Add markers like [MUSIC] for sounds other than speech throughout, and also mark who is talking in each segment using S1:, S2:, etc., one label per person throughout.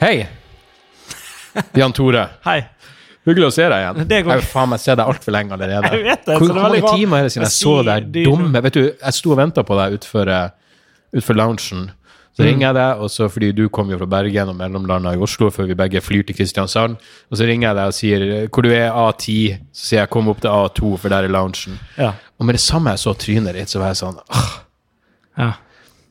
S1: Hei! Jan Tore.
S2: Hei.
S1: Hyggelig å se deg igjen.
S2: [LAUGHS] Det går-
S1: Jeg har faen meg sett deg altfor lenge allerede.
S2: Jeg vet det, så
S1: Hvor,
S2: det er
S1: hvor mange
S2: veldig bra.
S1: timer er det siden jeg
S2: Jeg
S1: så
S2: sier
S1: deg
S2: det jo.
S1: dumme Vet du, jeg sto og venta på deg utfor, eh, utfor loungen.
S2: Mm.
S1: Så ringer jeg deg, og så fordi du kom jo fra Bergen og mellomlanda i Oslo før vi begge flyr til Kristiansand, og så ringer jeg deg og sier eh, hvor du er A10, så sier jeg kom opp til A2, for der er loungen.
S2: Ja.
S1: Og med det samme jeg så trynet ditt, så var jeg sånn ah,
S2: ja.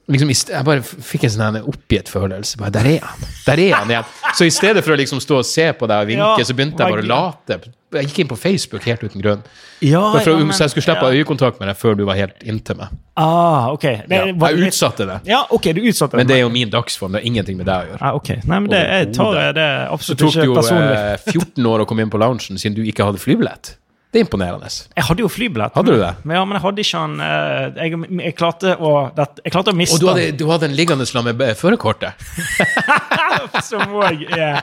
S1: liksom, i st- Jeg bare f- fikk en sånn her oppgitt følelse. Bare, der er han! Der er han igjen! Så i stedet for å liksom stå og se på deg og vinke,
S2: Ja,
S1: så begynte jeg bare å late. Jeg gikk inn på Facebook helt uten grunn. Bare for,
S2: ja,
S1: å- um-
S2: men-
S1: så jeg skulle slippe
S2: ja.
S1: øyekontakt med deg før du var helt inntil meg.
S2: Ah, ok. Det,
S1: Ja.
S2: var
S1: Jeg
S2: litt-
S1: utsatte det.
S2: Ja, ok, du utsatte
S1: Men det er jo min dagsform. Det har ingenting med deg å gjøre.
S2: ah, ok. Nei, men det jeg tar jeg det
S1: Så
S2: absolutt
S1: tok det
S2: ikke
S1: jo
S2: personlig.
S1: eh, 14 år å komme inn på loungen siden du ikke hadde flybillett. Det er imponerende.
S2: Jeg hadde jo flybillett.
S1: Hadde du det?
S2: Men, ja, men jeg hadde ikke han eh, jeg, jeg, klarte å, det, jeg klarte å miste
S1: Og du hadde, du hadde en liggende lam med eh, førerkortet.
S2: den, [LAUGHS] som òg er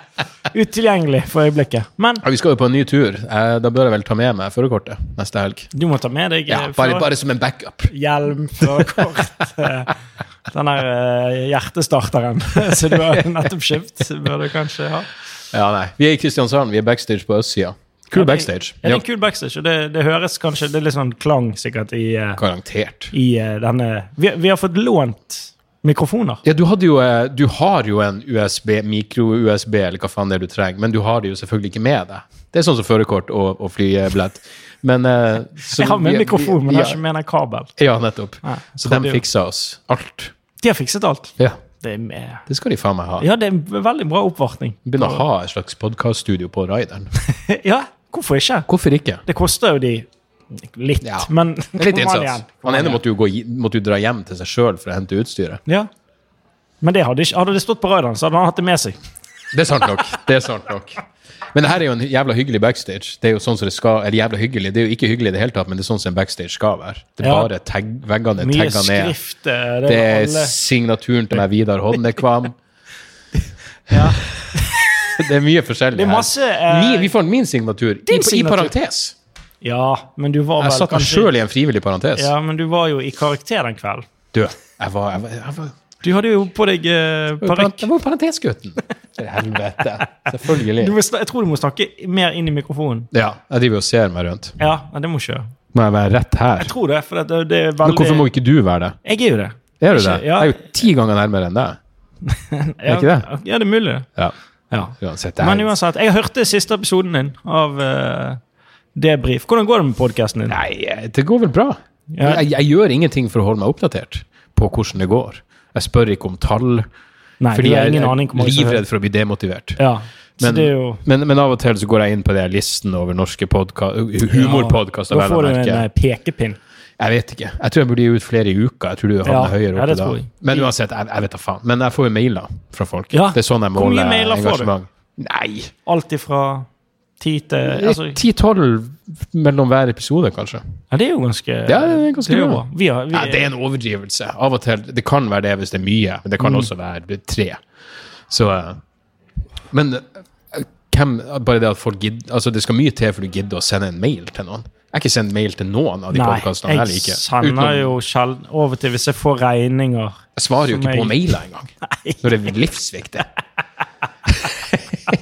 S2: utilgjengelig for øyeblikket. Men
S1: Ja, vi skal jo på en ny tur. Eh, Da bør jeg vel ta med meg førerkortet neste helg.
S2: du må ta med deg
S1: Ja,
S2: eh,
S1: bare,
S2: fra-
S1: bare som en backup.
S2: hjelm, førerkort eh, Den der eh, hjertestarteren [LAUGHS] som du har nettopp kjøpt, bør du kanskje ha.
S1: Ja, nei. Vi er i Kristiansand. Vi er backstage på østsida. Kul
S2: Ja, det-
S1: backstage.
S2: Ja, det er
S1: Ja,
S2: en kul backstage, og det, det høres kanskje Det er litt sånn klang sikkert i, eh,
S1: garantert.
S2: i eh, denne vi, vi har fått lånt mikrofoner.
S1: Ja, du, hadde jo, eh, du har jo en USB, mikro-USB, eller hva faen det er du trenger, men du har det jo selvfølgelig ikke med deg. Det er sånn som førerkort og, og flybillett. Men eh, så
S2: [LAUGHS] Jeg har med
S1: vi- vi-
S2: mikrofon, men jeg har
S1: ja,
S2: ikke med den kabel.
S1: [LAUGHS] Ja, nettopp.
S2: Nei,
S1: Så
S2: kan
S1: de
S2: du-
S1: fiksa oss alt.
S2: De har fikset alt.
S1: Ja,
S2: Det er med.
S1: det skal de faen meg ha.
S2: Ja, det er en veldig bra oppvartning. [LAUGHS]
S1: Begynne å ha et slags podkaststudio på Raideren.
S2: Ja, hvorfor ikke?
S1: Hvorfor ikke?
S2: Det koster jo de litt,
S1: Ja.
S2: men
S1: Litt
S2: Kom an igjen.
S1: innsats. Han ene måtte jo, gå, i- måtte jo dra hjem til seg sjøl for å hente utstyret.
S2: Ja. Men det hadde, ikke, hadde det stått på radaren, så hadde han hatt det med seg.
S1: Det er sant nok. det er sant nok. Men det her er jo en jævla hyggelig backstage. Det er jo sånn som det skal, eller jævla hyggelig, det er jo ikke hyggelig i det hele tatt, men det er sånn som en backstage skal være. Det er
S2: Ja.
S1: bare tag, veggene
S2: Mye
S1: tagga ned.
S2: skrift. eh, Det,
S1: Det
S2: er
S1: er
S2: alle.
S1: signaturen til meg Vidar Hodnekvam.
S2: [LAUGHS] Ja.
S1: Det er mye forskjellig
S2: Det er
S1: her.
S2: masse, eh,
S1: Min, vi får min signatur i, i
S2: signatur.
S1: parentes.
S2: ja, men du var vel
S1: Jeg satte meg sjøl i en frivillig parentes.
S2: Ja, men du var jo i karakter den kvelden.
S1: Du, jeg var, jeg var, jeg var
S2: Du hadde jo på deg eh, parykk.
S1: Jeg var parentesgutten. Til helvete. Selvfølgelig.
S2: Du må sna- Jeg tror du må snakke mer inn i mikrofonen.
S1: Ja, jeg driver og ser meg rundt.
S2: Ja, men det må ikke gjøre.
S1: Må jeg være rett her?
S2: Jeg tror det, for det, det er
S1: Men
S2: veldig
S1: hvorfor må ikke du være det?
S2: Jeg er jo det.
S1: Er du
S2: Ikke-
S1: det? Jeg
S2: ja.
S1: er jo ti ganger nærmere enn deg.
S2: Er
S1: ikke det?
S2: Ja, det er mulig.
S1: Ja,
S2: Ja.
S1: uansett.
S2: Men
S1: Det er...
S2: uansett, jeg hørte siste episoden din av eh, Debrif. Hvordan går det med podkasten din?
S1: Nei, det går vel bra.
S2: Ja.
S1: Jeg, jeg gjør ingenting for å holde meg oppdatert på hvordan det går. Jeg spør ikke om tall,
S2: Nei,
S1: fordi
S2: du har
S1: jeg
S2: ingen
S1: er
S2: aning hvor mange som hører.
S1: livredd for å bli demotivert.
S2: Ja, så
S1: Men,
S2: det er jo
S1: men, men av og til så går jeg inn på den listen over norske podka- humorpodkaster.
S2: Da
S1: vel å
S2: får du en
S1: merke.
S2: eh, pekepinn.
S1: Jeg vet ikke. Jeg tror jeg burde gi ut flere i uka. Jeg tror du havner
S2: Ja,
S1: høyere
S2: ja,
S1: oppe
S2: det
S1: da.
S2: tror jeg.
S1: Men uansett, jeg, jeg vet da faen. Men jeg får jo mailer fra folk.
S2: Ja.
S1: Det er sånn jeg
S2: Hvor mye
S1: måler
S2: mailer får du?
S1: engasjement. Nei,
S2: Alt ifra ti til altså,
S1: 10-12 mellom hver episode, kanskje.
S2: Ja, det er jo ganske
S1: Ja, det er ganske
S2: jo
S1: bra.
S2: bra. Vi har, vi,
S1: Ja, det er en overdrivelse. Av og til, Det kan være det hvis det er mye, men det
S2: Mm.
S1: kan også være tre. Så eh, Men eh, hvem, bare det at folk gidder altså Det skal mye til for du gidder å sende en mail til noen. Jeg har ikke sendt mail til noen av de podkastene.
S2: Nei, jeg sender jo sjelden over til hvis jeg får regninger.
S1: Jeg svarer jo
S2: som
S1: ikke på
S2: jeg-
S1: mailer
S2: [LAUGHS]
S1: engang. Når det er livsviktig. [LAUGHS]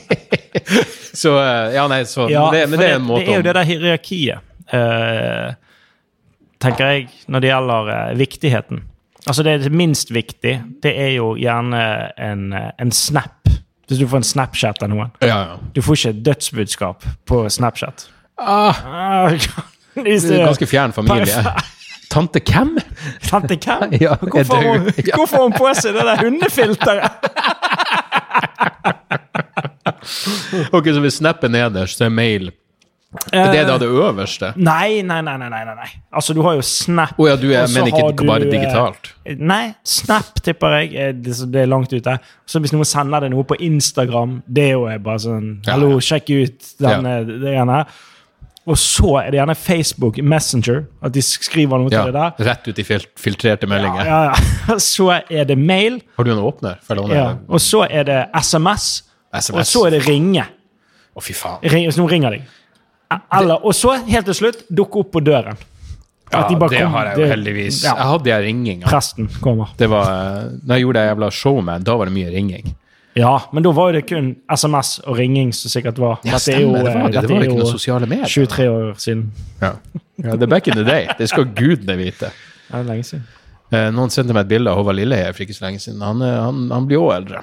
S1: så eh, Ja, nei, så
S2: Ja,
S1: men det,
S2: for
S1: men det er en
S2: det
S1: måte
S2: er jo
S1: om
S2: det der hierarkiet, eh, tenker jeg, når det gjelder eh, viktigheten. Altså det minst viktig, det er jo gjerne en, eh, en snap. Hvis du får en Snapchat av noen.
S1: ja, ja.
S2: Du får ikke et dødsbudskap på Snapchat.
S1: Ah,
S2: Ah, [LAUGHS] hvis
S1: det
S2: du-
S1: er ganske fjern familie.
S2: [LAUGHS]
S1: Tante hvem?
S2: Tante Cam?
S1: [LAUGHS] Ja, jeg
S2: hvorfor, har
S1: [LAUGHS]
S2: hun,
S1: dør. Ja.
S2: hvorfor har hun på seg det der hundefilteret?
S1: Ok, så hvis Snap er nederst, så er mail [LAUGHS] Det er da det øverste? Å
S2: Eh, Nei, nei, nei, nei, nei, nei, nei. Altså, du har jo Snap.
S1: ja, du er,
S2: og så
S1: men
S2: har
S1: ikke
S2: du,
S1: bare
S2: eh,
S1: digitalt?
S2: Nei, Snap tipper jeg. eh, Det, så det er langt ute. Så hvis noen sender deg noe på Instagram, det er jo bare sånn
S1: Ja,
S2: Hallo,
S1: ja.
S2: sjekk ut denne, det ene. Og så er det gjerne Facebook Messenger, at de skriver noe
S1: Ja,
S2: til deg der.
S1: rett ut i fil filtrerte meldinger.
S2: Ja, ja. [LAUGHS] Så er det mail,
S1: Har du en åpner? Følg om det.
S2: ja. og så er det SMS, og
S1: SMS.
S2: så er det ringe.
S1: Å, fy faen.
S2: Ring, hvis noen ringer deg. Eller, og så, helt til slutt, dukke opp på døren.
S1: Ja,
S2: At de bare
S1: det
S2: kom-
S1: har jeg jo
S2: det-
S1: heldigvis.
S2: ja.
S1: Jeg hadde jeg ringinga.
S2: Presten kommer.
S1: Det var, eh, når jeg gjorde det jævla showman, da var det mye ringing.
S2: Ja, men da var jo det kun SMS og ringing som sikkert var.
S1: Ja,
S2: Dette er
S1: stemmer. det
S2: eh,
S1: var det.
S2: dette
S1: Det var
S2: er
S1: ikke
S2: jo
S1: noe sosiale medier.
S2: 23 år siden.
S1: Ja. ja, det er back in the day. Det skal gudene vite.
S2: Ja, det er lenge siden.
S1: Eh, noen sendte meg et bilde av Håvard Lilleheie for ikke så lenge siden. Han, eh, han, han blir òg eldre.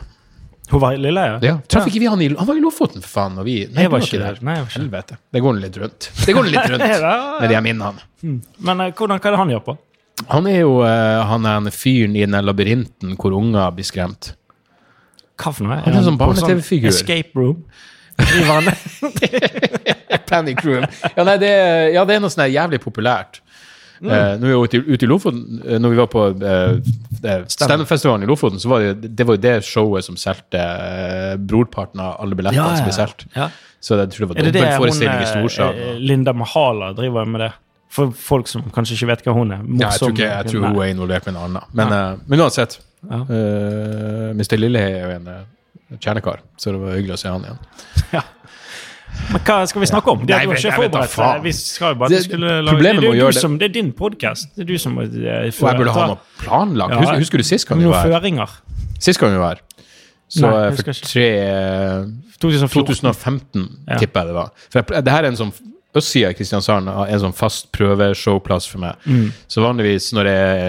S2: Hun var lille, ja?
S1: Ja. Traff ikke vi han i Han var i Lofoten, for faen. Og vi Nei, du
S2: Jeg var ikke der. Nei, jeg var ikke der.
S1: Helvete. Det går nå litt rundt. Det går nå
S2: [LAUGHS]
S1: litt rundt
S2: Ja.
S1: med de her minnene.
S2: Men eh, hvordan, hva er det han gjør på?
S1: Han er jo eh, han er en fyren i den der labyrinten hvor unger blir skremt. [LAUGHS]
S2: Hva for noe?
S1: er en sånn
S2: på
S1: barne-TV-figur.
S2: Escape room. Driver han
S1: Panic Room. Ja, nei, det, er- ja, det er noe sånn her jævlig populært.
S2: Mm.
S1: Eh, når vi var ute, i- ute i Lofoten, eh, når vi var på eh, Standup-festivalen i Lofoten, så var det, det var jo det showet som solgte eh, brorparten av alle billettene som ble solgt.
S2: Ja.
S1: Så det, jeg tror det
S2: Er
S1: var
S2: det det hun
S1: dobbeltforestilling i
S2: eh,
S1: Storsalen.
S2: Linda Mahala driver med det? For folk som kanskje ikke vet hva hun er.
S1: Ja, jeg tror, ikke, jeg tror hun
S2: Nei.
S1: er involvert med en annen. Men, eh, men uansett.
S2: Ja.
S1: eh, Mr. Lilleheie er jo en eh, kjernekar, så det var hyggelig å se han igjen.
S2: Men hva skal vi snakke om? Det
S1: Nei,
S2: du har
S1: jeg
S2: ikke
S1: vet da
S2: forberedt
S1: faen.
S2: deg. eh, Vi skal jo bare
S1: Det-
S2: vi skulle lage
S1: problemet med å
S2: det, er jo
S1: gjøre
S2: du
S1: det-
S2: som, det er din podkast. Det er du som må
S1: Og
S2: eh,
S1: jeg burde ha
S2: ta-
S1: noe planlagt.
S2: Ja,
S1: Husker, husker du sist gang vi
S2: noen
S1: var her?
S2: føringer.
S1: Sist gang vi var her, så
S2: Nei,
S1: eh,
S2: jeg husker
S1: for
S2: ikke.
S1: tre eh,
S2: 2014.
S1: 2015
S2: Ja.
S1: tipper jeg det var. For jeg, det her er en sånn Østsida i Kristiansand er en sånn fast prøveshowplass for meg.
S2: Mm.
S1: Så vanligvis når det er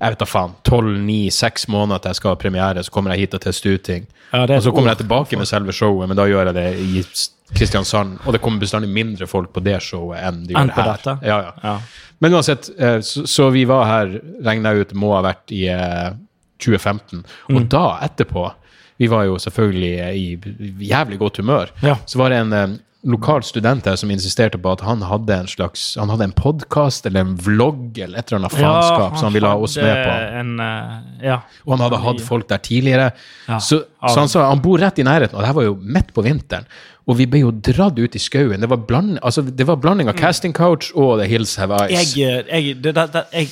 S1: jeg vet da faen, 12-9-6 måneder til jeg skal ha premiere, så kommer jeg hit og tester ut ting.
S2: Ja, det er
S1: og så
S2: et
S1: kommer
S2: ord
S1: jeg tilbake med selve showet, men da gjør jeg det i s- Kristiansand. Og det kommer bestandig mindre folk på det showet enn de
S2: Enn
S1: gjør
S2: på
S1: her.
S2: dette?
S1: Ja, ja.
S2: Ja.
S1: Men uansett, eh, så, så vi var her, regner jeg ut, må ha vært i eh, 2015.
S2: Mm.
S1: Og da, etterpå, vi var jo selvfølgelig eh, i jævlig godt humør,
S2: Ja.
S1: så var det en eh, lokal student her som insisterte på at han hadde en slags, han hadde en podkast eller en vlogg eller et eller annet faenskap som han ville ha oss med på.
S2: hadde En, eh, ja.
S1: Og han hadde hatt folk der tidligere.
S2: Ja.
S1: Så, så han sa han bor rett i nærheten, og det her var jo midt på vinteren. Og vi ble jo dratt ut i skauen. Det var blanding, altså, det var blanding av casting couch og The Hills Have Eyes.
S2: Mm. Jeg, eh, jeg, det, det, det, jeg,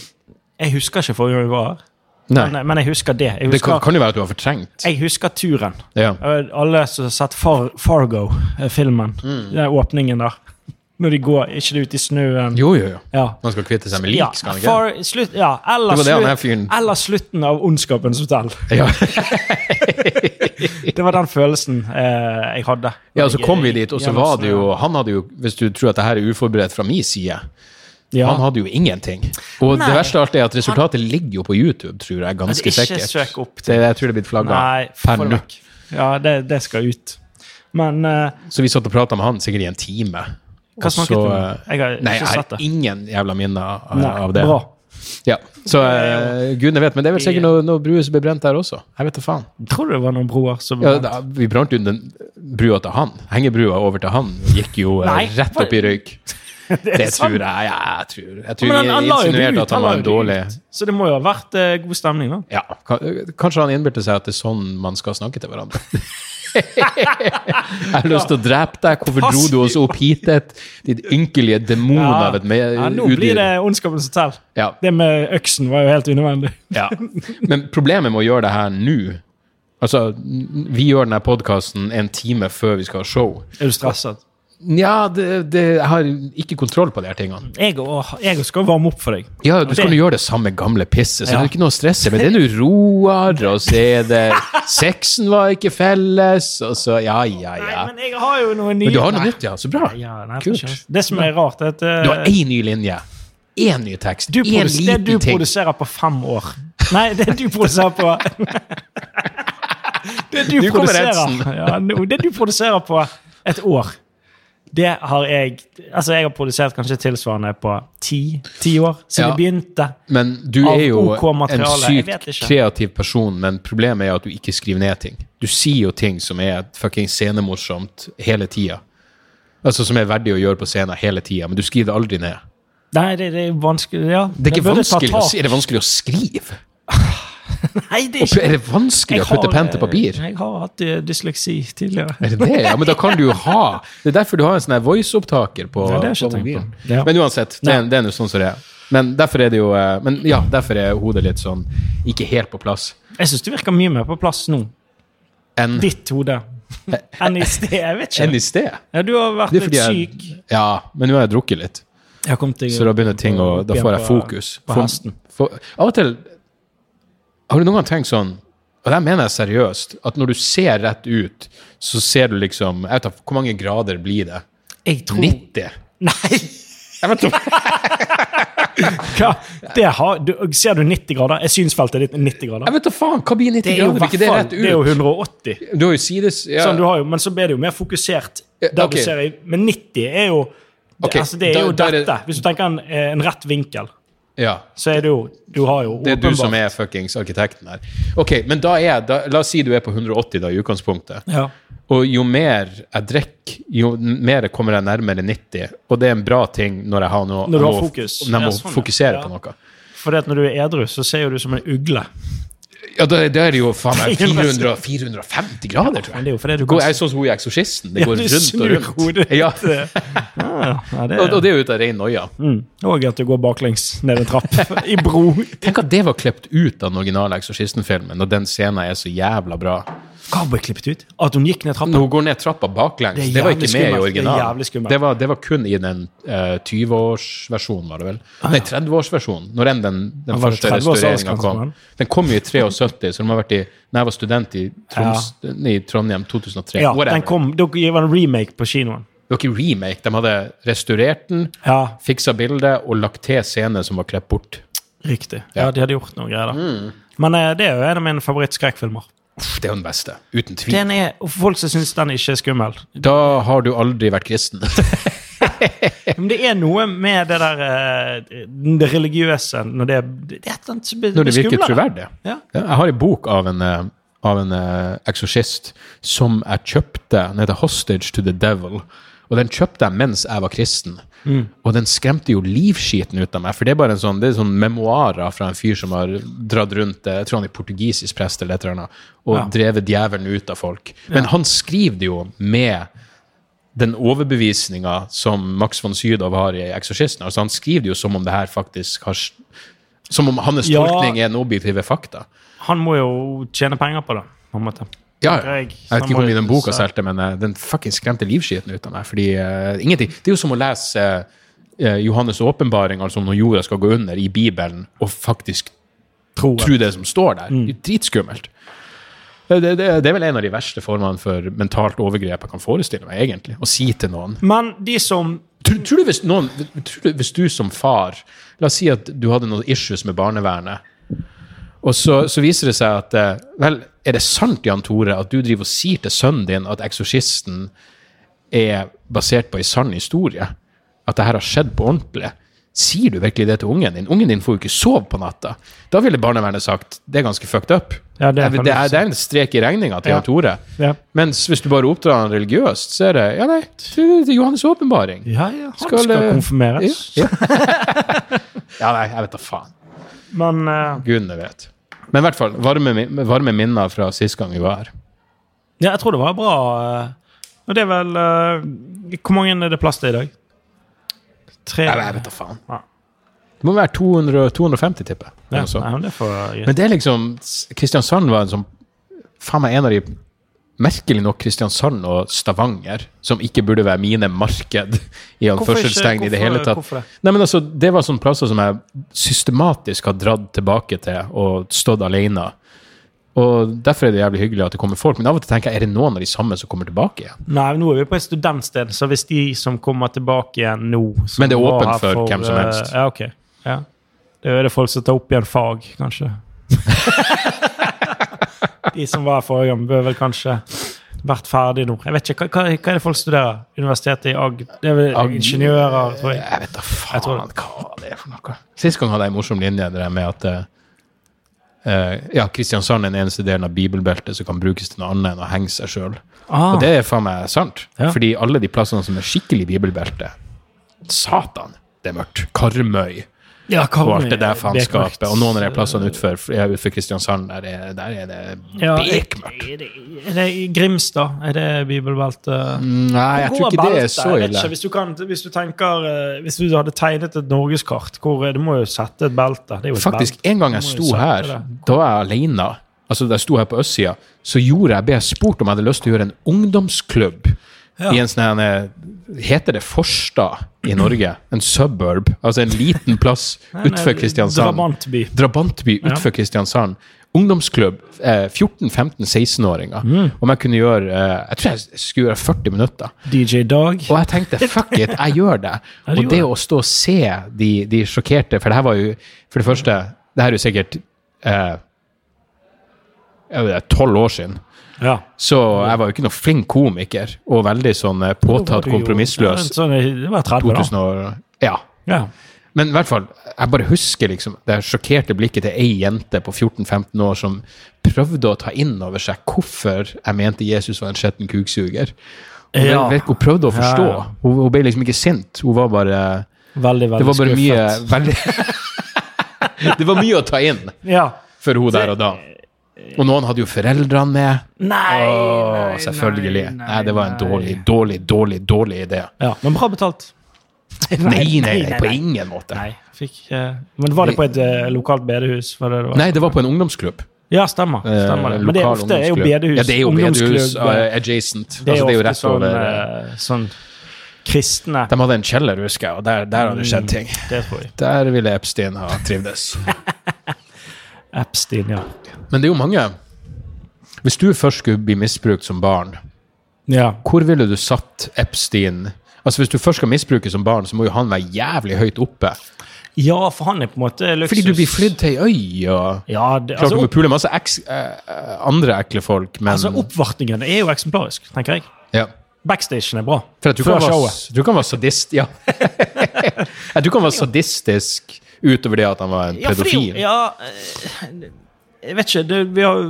S2: jeg husker ikke forrige gang vi var her,
S1: Nei,
S2: men, men jeg husker det. Jeg
S1: det kan,
S2: husker,
S1: kan jo være at du har fortrengt.
S2: jeg husker turen.
S1: Ja.
S2: Eh, Alle som har sett Far, Fargo-filmen, den åpningen der. Når de går ikke det ut i snøen.
S1: Jo, jo, jo.
S2: Ja.
S1: Man skal kvitte seg med lik, skal man ikke?
S2: far, slutt, ja, eller,
S1: Det var det han her
S2: slutt,
S1: fyren-
S2: eller slutten av Ondskapens
S1: [LAUGHS]
S2: hotell.
S1: Ja.
S2: Det var den følelsen eh, jeg hadde.
S1: ja, så kom vi
S2: Jeg-
S1: dit, og så
S2: gjennom
S1: var det jo
S2: snøen.
S1: Han hadde jo, hvis du tror at det her er uforberedt fra min side,
S2: ja.
S1: han hadde jo ingenting. Og
S2: Nei.
S1: det verste av alt er at resultatet ligger jo på YouTube, tror jeg,
S2: Altså,
S1: ganske
S2: ikke
S1: sikkert.
S2: søk opp
S1: Det,
S2: til
S1: jeg tror det er blitt flagga
S2: Nei,
S1: per
S2: få det
S1: nå.
S2: vekk. Ja, det, det skal ut. Men eh,
S1: Så vi satt og prata med han sikkert i en time.
S2: hva snakket du om?
S1: eh,
S2: Jeg har
S1: Nei, jeg
S2: ikke
S1: har
S2: sett det.
S1: ingen jævla minner av,
S2: Nei,
S1: av det.
S2: Bra.
S1: Ja. Så eh, gudene vet, men det er vel sikkert
S2: Ja.
S1: noe, noe bruer som ble brent der også. Jeg vet da faen.
S2: Tror du det var noen broer som
S1: Ja, da, vi brant jo den brua til han. Hengebrua over til han gikk jo eh,
S2: Nei,
S1: rett opp i røyk.
S2: [LAUGHS] Det er
S1: Det
S2: sant.
S1: tror jeg. Ja, jeg tror, jeg tror
S2: Men han, han
S1: vi
S2: la jo det
S1: insinuerte
S2: ut.
S1: at han
S2: la
S1: var en
S2: jo det
S1: dårlig
S2: ut. Så det må jo ha vært eh, god stemning, da.
S1: ja, ka- Kanskje han innbilte seg at det er sånn man skal snakke til
S2: [LAUGHS]
S1: hverandre. jeg har lyst til å drepe deg. Hvorfor dro du oss opp hit? et- Ditt ynkelige demon av et med,
S2: ja, nå blir det
S1: udyr.
S2: Ondskapens hotell.
S1: Ja,
S2: Det med øksen var jo helt
S1: [LAUGHS]
S2: unødvendig.
S1: ja. Men problemet med å gjøre det her nå Altså, n- Vi gjør denne podkasten en time før vi skal ha show.
S2: Er du stresset?
S1: Nja, det, det, jeg har ikke kontroll på de her tingene.
S2: Jeg, og, jeg skal varme opp for deg.
S1: Ja, du skal
S2: det-
S1: jo gjøre det samme gamle pisset, så
S2: Ja.
S1: det er ikke noe å stresse med. Det er nå roer, og så er det
S2: [LAUGHS]
S1: Sexen var ikke felles, og så Ja, ja, ja.
S2: Nei, men jeg har jo noe nye
S1: Men du har noe nytt, ja. Så bra.
S2: Ja, nei, jeg
S1: Kult.
S2: tror ikke det. Det som er rart, er at eh,
S1: Du har én ny linje. Én ny tekst.
S2: du
S1: Én
S2: produs- det du
S1: liten ting.
S2: produserer på fem år. Nei, det du
S1: [LAUGHS]
S2: produserer på Det du,
S1: Nå kommer
S2: produserer
S1: Edsen.
S2: ja, nå, Det du produserer på et år, det har jeg Altså, jeg har produsert kanskje tilsvarende på ti, ti år, siden
S1: Ja.
S2: jeg begynte.
S1: Men du
S2: Av
S1: er jo
S2: OK
S1: en
S2: materiale, jeg vet
S1: sykt
S2: ikke.
S1: kreativ person, men problemet er at du ikke skriver ned ting. Du sier jo ting som er fucking scenemorsomt hele tida. Altså som er verdig å gjøre på scenen hele tida, men du skriver det aldri ned.
S2: Nei, det, det er vanskelig ja.
S1: Det er,
S2: Jeg
S1: ikke
S2: burde ta
S1: vanskelig å,
S2: tak.
S1: si- er det vanskelig å skrive?
S2: Nei, det er ikke
S1: Er det vanskelig
S2: Jeg
S1: å putte
S2: har,
S1: penn til
S2: eh,
S1: papir?
S2: Jeg har hatt eh, dysleksi tidligere.
S1: Er det det? Ja, men da kan du jo ha Det er derfor du har en sånn her voice-opptaker på,
S2: Ja, det
S1: på
S2: har jeg ikke tenkt
S1: mobilen.
S2: på. Ja.
S1: Men uansett, det, er- det er nå sånn som det er. Men derfor er det jo eh, Men ja, derfor er hodet litt sånn ikke helt på plass.
S2: Jeg syns det virker mye mer på plass nå.
S1: Enn
S2: Ditt
S1: [LAUGHS]
S2: hode. Enn i sted. Jeg vet
S1: enn
S2: ikke.
S1: i sted.
S2: Ja, du har vært
S1: Det er
S2: litt
S1: fordi jeg-
S2: syk.
S1: Ja, men nå har jeg drukket litt,
S2: Jeg har kommet til
S1: så da begynner ting å Da får jeg fokus.
S2: På
S1: Får-
S2: hesten.
S1: får- Av og til Har du noen gang tenkt sånn Og det mener jeg seriøst. At når du ser rett ut, så ser du liksom jeg vet, da, Hvor mange grader blir det?
S2: Jeg tror
S1: 90? [LAUGHS]
S2: Nei!
S1: Jeg vet ikke.
S2: Hva? Det har, du, ser du 90 grader? Jeg synsfeltet ditt er 90 grader.
S1: Jeg vet da faen! Hva blir 90
S2: Det er jo
S1: grader? Blir ikke det
S2: hvertfall-
S1: rett
S2: det er jo
S1: ut?
S2: 180.
S1: Du har jo sides ja.
S2: Sånn, du har jo, men så blir det jo mer fokusert.
S1: Ja,
S2: Der
S1: ok.
S2: du ser, i- men 90 er jo det,
S1: Ok,
S2: altså, det er
S1: da-
S2: jo
S1: da er det-
S2: dette. Hvis du tenker en, eh, en rett vinkel,
S1: ja.
S2: så er det jo Du har jo
S1: Det er du som er fuckings arkitekten her. Ok, men da er da, La oss si du er på 180 da, i utgangspunktet.
S2: ja.
S1: Og jo mer jeg drikker, jo mer kommer jeg nærmere 90. Og det er en bra ting når jeg har noe
S2: Når du
S1: jeg
S2: har
S1: må-
S2: fokus.
S1: Når jeg
S2: Ja,
S1: må
S2: sånn, ja.
S1: fokusere
S2: Ja.
S1: på noe.
S2: For det at når du er edru, så ser jo du som en ugle.
S1: Ja, da, da er det jo faen meg
S2: [LAUGHS] Det er jo nesten-
S1: 400, 450 grader, tror jeg.
S2: Men det er jo fordi du
S1: Går, jeg
S2: kan
S1: er sånn som hun i Eksorsisten. Det
S2: [LAUGHS] Ja,
S1: går
S2: du
S1: rundt og
S2: snur
S1: rundt.
S2: hodet. [LAUGHS]
S1: Ja,
S2: Ja, ja, det
S1: og, og
S2: er,
S1: det er jo ut av rein noia.
S2: mm. Og at du går baklengs ned en trapp. I bro.
S1: Tenk at det var klippet ut av den originale Eksorsisten-filmen, og den scenen er så jævla bra.
S2: Hva ble klippet ut? At hun gikk ned trappa?
S1: Når hun går ned trappa baklengs,
S2: Det
S1: det,
S2: er
S1: var ikke med i
S2: jævlig skummelt. Det er
S1: originalen.
S2: jævlig skummelt.
S1: Det var, det var kun i den eh, 20-årsversjonen, var det vel? Nei, 30-årsversjonen, når enn den, den
S2: Ah, Var det
S1: første
S2: 30-års
S1: restaureringa kom.
S2: aldersgrensen?
S1: Den kom jo i 73, så den har vært i Når jeg var student i, Troms, i Trondheim 2003.
S2: Ja,
S1: Whatever.
S2: den kom, det var en remake på kinoen.
S1: Det var ikke remake. De hadde restaurert den,
S2: Ja,
S1: fiksa bildet og lagt til scener som var klippet bort.
S2: riktig.
S1: Ja. Mm.
S2: Ja, De hadde gjort noe greier der. Men eh, det er jo en av mine favorittskrekkfilmer.
S1: Uff, det er jo den beste. Uten tvil.
S2: Den er, og folk som syns den ikke er skummel.
S1: Da har du aldri vært kristen. [LAUGHS]
S2: Men det er noe med det der eh, det religiøse når det, det er et eller annet som blir-
S1: Når det
S2: blir
S1: virker
S2: skumlere.
S1: troverdig.
S2: Ja.
S1: Ja, Jeg har en bok av en, eh, av en eh, eksorsist som jeg kjøpte. Den heter 'Hostage to the Devil'. Og den kjøpte jeg mens jeg var kristen. Og den skremte jo livskiten ut av meg. For det er bare en sånn, det er sånn memoarer fra en fyr som har dratt rundt eh, Jeg tror han er portugisisk prest eller et eller annet, og drevet djevelen ut av folk. Men han skriver det jo med den overbevisninga som Max von Sydow har i 'Eksorsisten'. Altså, han skriver det jo som om det her faktisk har s- Som om hans
S2: Ja.
S1: tolkning er en objektive fakta.
S2: Han må jo tjene penger på det, på en måte.
S1: Ja,
S2: Tenker
S1: jeg
S2: jeg.
S1: vet ikke hvor mye den
S2: Samme-
S1: boka solgte, men eh, den fucking skremte livskiten ut av meg. fordi eh, ingenting, Det er jo som å lese eh, Johannes' åpenbaring, altså når jorda skal gå under, i Bibelen, og faktisk
S2: Tror jeg.
S1: tro det som står der. Det er jo dritskummelt. Det, det, det er vel en av de verste formene for mentalt overgrep jeg kan forestille meg, egentlig. Å si til noen
S2: Men de som
S1: Tror, tror, du hvis noen, tror du hvis du som far La oss si at du hadde noen issues med barnevernet, og så, så viser det seg at eh, Vel, er det sant, Jan Tore, at du driver og sier til sønnen din at Eksorsisten er basert på ei sann historie? At det her har skjedd på ordentlig? Sier du virkelig det til ungen din? Ungen din får jo ikke sove på natta. Da ville barnevernet sagt det er ganske fucked up.
S2: Ja, det er
S1: det, er,
S2: faktisk-
S1: det er en strek i regninga til
S2: Ja.
S1: Jan Tore.
S2: Ja,
S1: Mens hvis du bare oppdrar han religiøst, så er det ja nei, det er Johannes' åpenbaring.
S2: ja, ja han skal,
S1: Skal, eh,
S2: konfirmeres.
S1: Ja. [LAUGHS] ja, nei, jeg vet da faen.
S2: Men eh,
S1: Gudene vet. Men i hvert fall, varme, min- varme minner fra sist gang vi var her.
S2: ja, jeg tror det var bra. eh, Og det er vel eh, Hvor mange er det plass til i dag? Tre?
S1: Nei, jeg vet da faen.
S2: Ja.
S1: Det må være 200, 250, tipper jeg.
S2: Ja,
S1: Eller noe sånt.
S2: nei, men det får eh, jeg-
S1: Altså. Men det er liksom Kristiansand var en sånn Faen meg en av de Merkelig nok Kristiansand og Stavanger, som ikke burde være mine marked i
S2: Hvorfor ikke?
S1: anførselstegn i det hele
S2: Hvorfor-
S1: tatt.
S2: hvorfor det?
S1: Nei, men altså, det var sånne plasser som jeg systematisk har dratt tilbake til og stått alene. Og derfor er det jævlig hyggelig at det kommer folk. Men av og til tenker jeg, er det noen av de samme som kommer tilbake igjen?
S2: Nei, nå er vi på et studentsted, så hvis de som kommer tilbake igjen nå som
S1: Men det er
S2: var
S1: åpent
S2: her
S1: for hvem som
S2: eh,
S1: helst.
S2: Ja, ok. Ja. Det er det folk som tar opp igjen fag,
S1: [LAUGHS]
S2: kanskje. de som var her forrige gang, bør vel kanskje vært ferdig nå. Jeg vet ikke, Hva, hva, hva er det folk studerer? Universitetet i Agd? Det er vel
S1: Agder?
S2: ingeniører, tror jeg.
S1: Jeg vet da
S2: Jeg
S1: faen
S2: tror
S1: hva det er for noe. Sist gang hadde jeg en morsom linje der med at eh, eh, ja, Kristiansand er den eneste delen av bibelbeltet som kan brukes til noe annet enn å henge seg sjøl.
S2: Ah,
S1: Og det er faen meg sant.
S2: Ja.
S1: Fordi alle de plassene som er skikkelig bibelbelte Satan, det er mørkt. Karmøy
S2: ja,
S1: og
S2: Karmøy,
S1: alt det der
S2: bekmørkt.
S1: faenskapet. Og noen av de plassene utenfor ja, utenfor Kristiansand, der er, der er det
S2: Ja, er,
S1: bekmørkt.
S2: er, det, er det i Grimstad? Er det bibelbelte?
S1: Nei, Mm, jeg tror ikke det er så
S2: Jeg vet
S1: ille.
S2: Ikke, hvis, du kan, hvis, du tenker, eh, hvis du hadde tegnet et norgeskart hvor eh, Du må jo sette et belte. Det er jo et
S1: Faktisk,
S2: belte.
S1: en gang jeg
S2: Må jo
S1: sto
S2: sette
S1: her,
S2: det.
S1: da var jeg alene, altså da jeg sto her på østsida, så gjorde jeg, ble jeg spurt om jeg hadde lyst til å gjøre en ungdomsklubb i en sånn her, eh, Heter det Forstad i Norge? En suburb? Altså en liten plass
S2: Men, eh,
S1: utenfor Kristiansand?
S2: Drabantby.
S1: Drabantby utenfor Kristiansand. ungdomsklubb, eh, 14-15-16-åringer,
S2: Mm.
S1: om jeg kunne gjøre eh, Jeg tror jeg skulle gjøre 40 minutter.
S2: DJ Dog.
S1: Og jeg tenkte fuck it, jeg gjør det.
S2: [LAUGHS] Ja, du
S1: Og det
S2: gjorde
S1: å stå og se de, de sjokkerte For det her var jo For det første, det her er jo sikkert eh, tolv år siden.
S2: Ja.
S1: Så jeg var jo ikke noe flink komiker, og veldig sånn eh,
S2: Da var
S1: påtatt
S2: du jo-
S1: kompromissløs.
S2: Ja, sånn, det var 30 da.
S1: 2000 år, ja.
S2: Ja.
S1: Men i hvert fall, jeg bare husker liksom det sjokkerte blikket til ei jente på 14-15 år som prøvde å ta inn over seg hvorfor jeg mente Jesus var en skitten kuksuger. Og det-
S2: Ja.
S1: vet, hun prøvde å forstå.
S2: Ja, ja.
S1: Hun, hun ble liksom ikke sint. Hun var bare
S2: Veldig, veldig
S1: Det var bare
S2: skuffet.
S1: mye veldig, [LAUGHS] Det var mye å ta inn
S2: Ja.
S1: for hun der og da. Og noen hadde jo foreldrene med.
S2: Nei,
S1: Å, selvfølgelig. Nei, det var en dårlig, dårlig, dårlig, dårlig idé.
S2: Ja, Men bra betalt.
S1: Nei, nei, nei, på ingen måte.
S2: Nei, fikk, eh, men var det på et eh, lokalt bedehus? Var det det var?
S1: Nei, det var på en ungdomsklubb.
S2: Ja, stemmer. stemmer det.
S1: Eh,
S2: Men det er
S1: lokal
S2: ofte er jo
S1: ungdomsklubb.
S2: bedehus.
S1: Ja, det er jo bedehus
S2: ungdomsklubb, eh,
S1: eh, adjacent.
S2: Det
S1: altså,
S2: er,
S1: det er jo
S2: ofte
S1: rett
S2: sånn,
S1: over eh,
S2: eh, sånn kristne
S1: De hadde en kjeller, husker jeg, og der, der hadde det skjedd ting.
S2: Det tror jeg.
S1: Der ville Epstein ha
S2: [LAUGHS]
S1: trivdes.
S2: Epstein, ja.
S1: Men det er jo mange Hvis du først skulle bli misbrukt som barn,
S2: Ja,
S1: hvor ville du satt Epstein Altså Hvis du først skal misbruke som barn, så må jo han være jævlig høyt oppe.
S2: ja for han er på en måte luksus.
S1: Fordi du blir flydd til ei øy og
S2: Ja, det,
S1: Klart du
S2: altså,
S1: må
S2: opp,
S1: pule masse eks, eh, eh, andre ekle folk, men
S2: altså Oppvartningen er jo eksemplarisk, tenker jeg.
S1: ja.
S2: Backstagen er bra.
S1: For at du,
S2: Før
S1: kan være,
S2: showet.
S1: du kan være sadist
S2: [LAUGHS]
S1: Ja. Jeg tror han var sadistisk utover det at han var en
S2: Ja, fordi,
S1: pedofil.
S2: ja, eh, jeg vet ikke, det, vi har,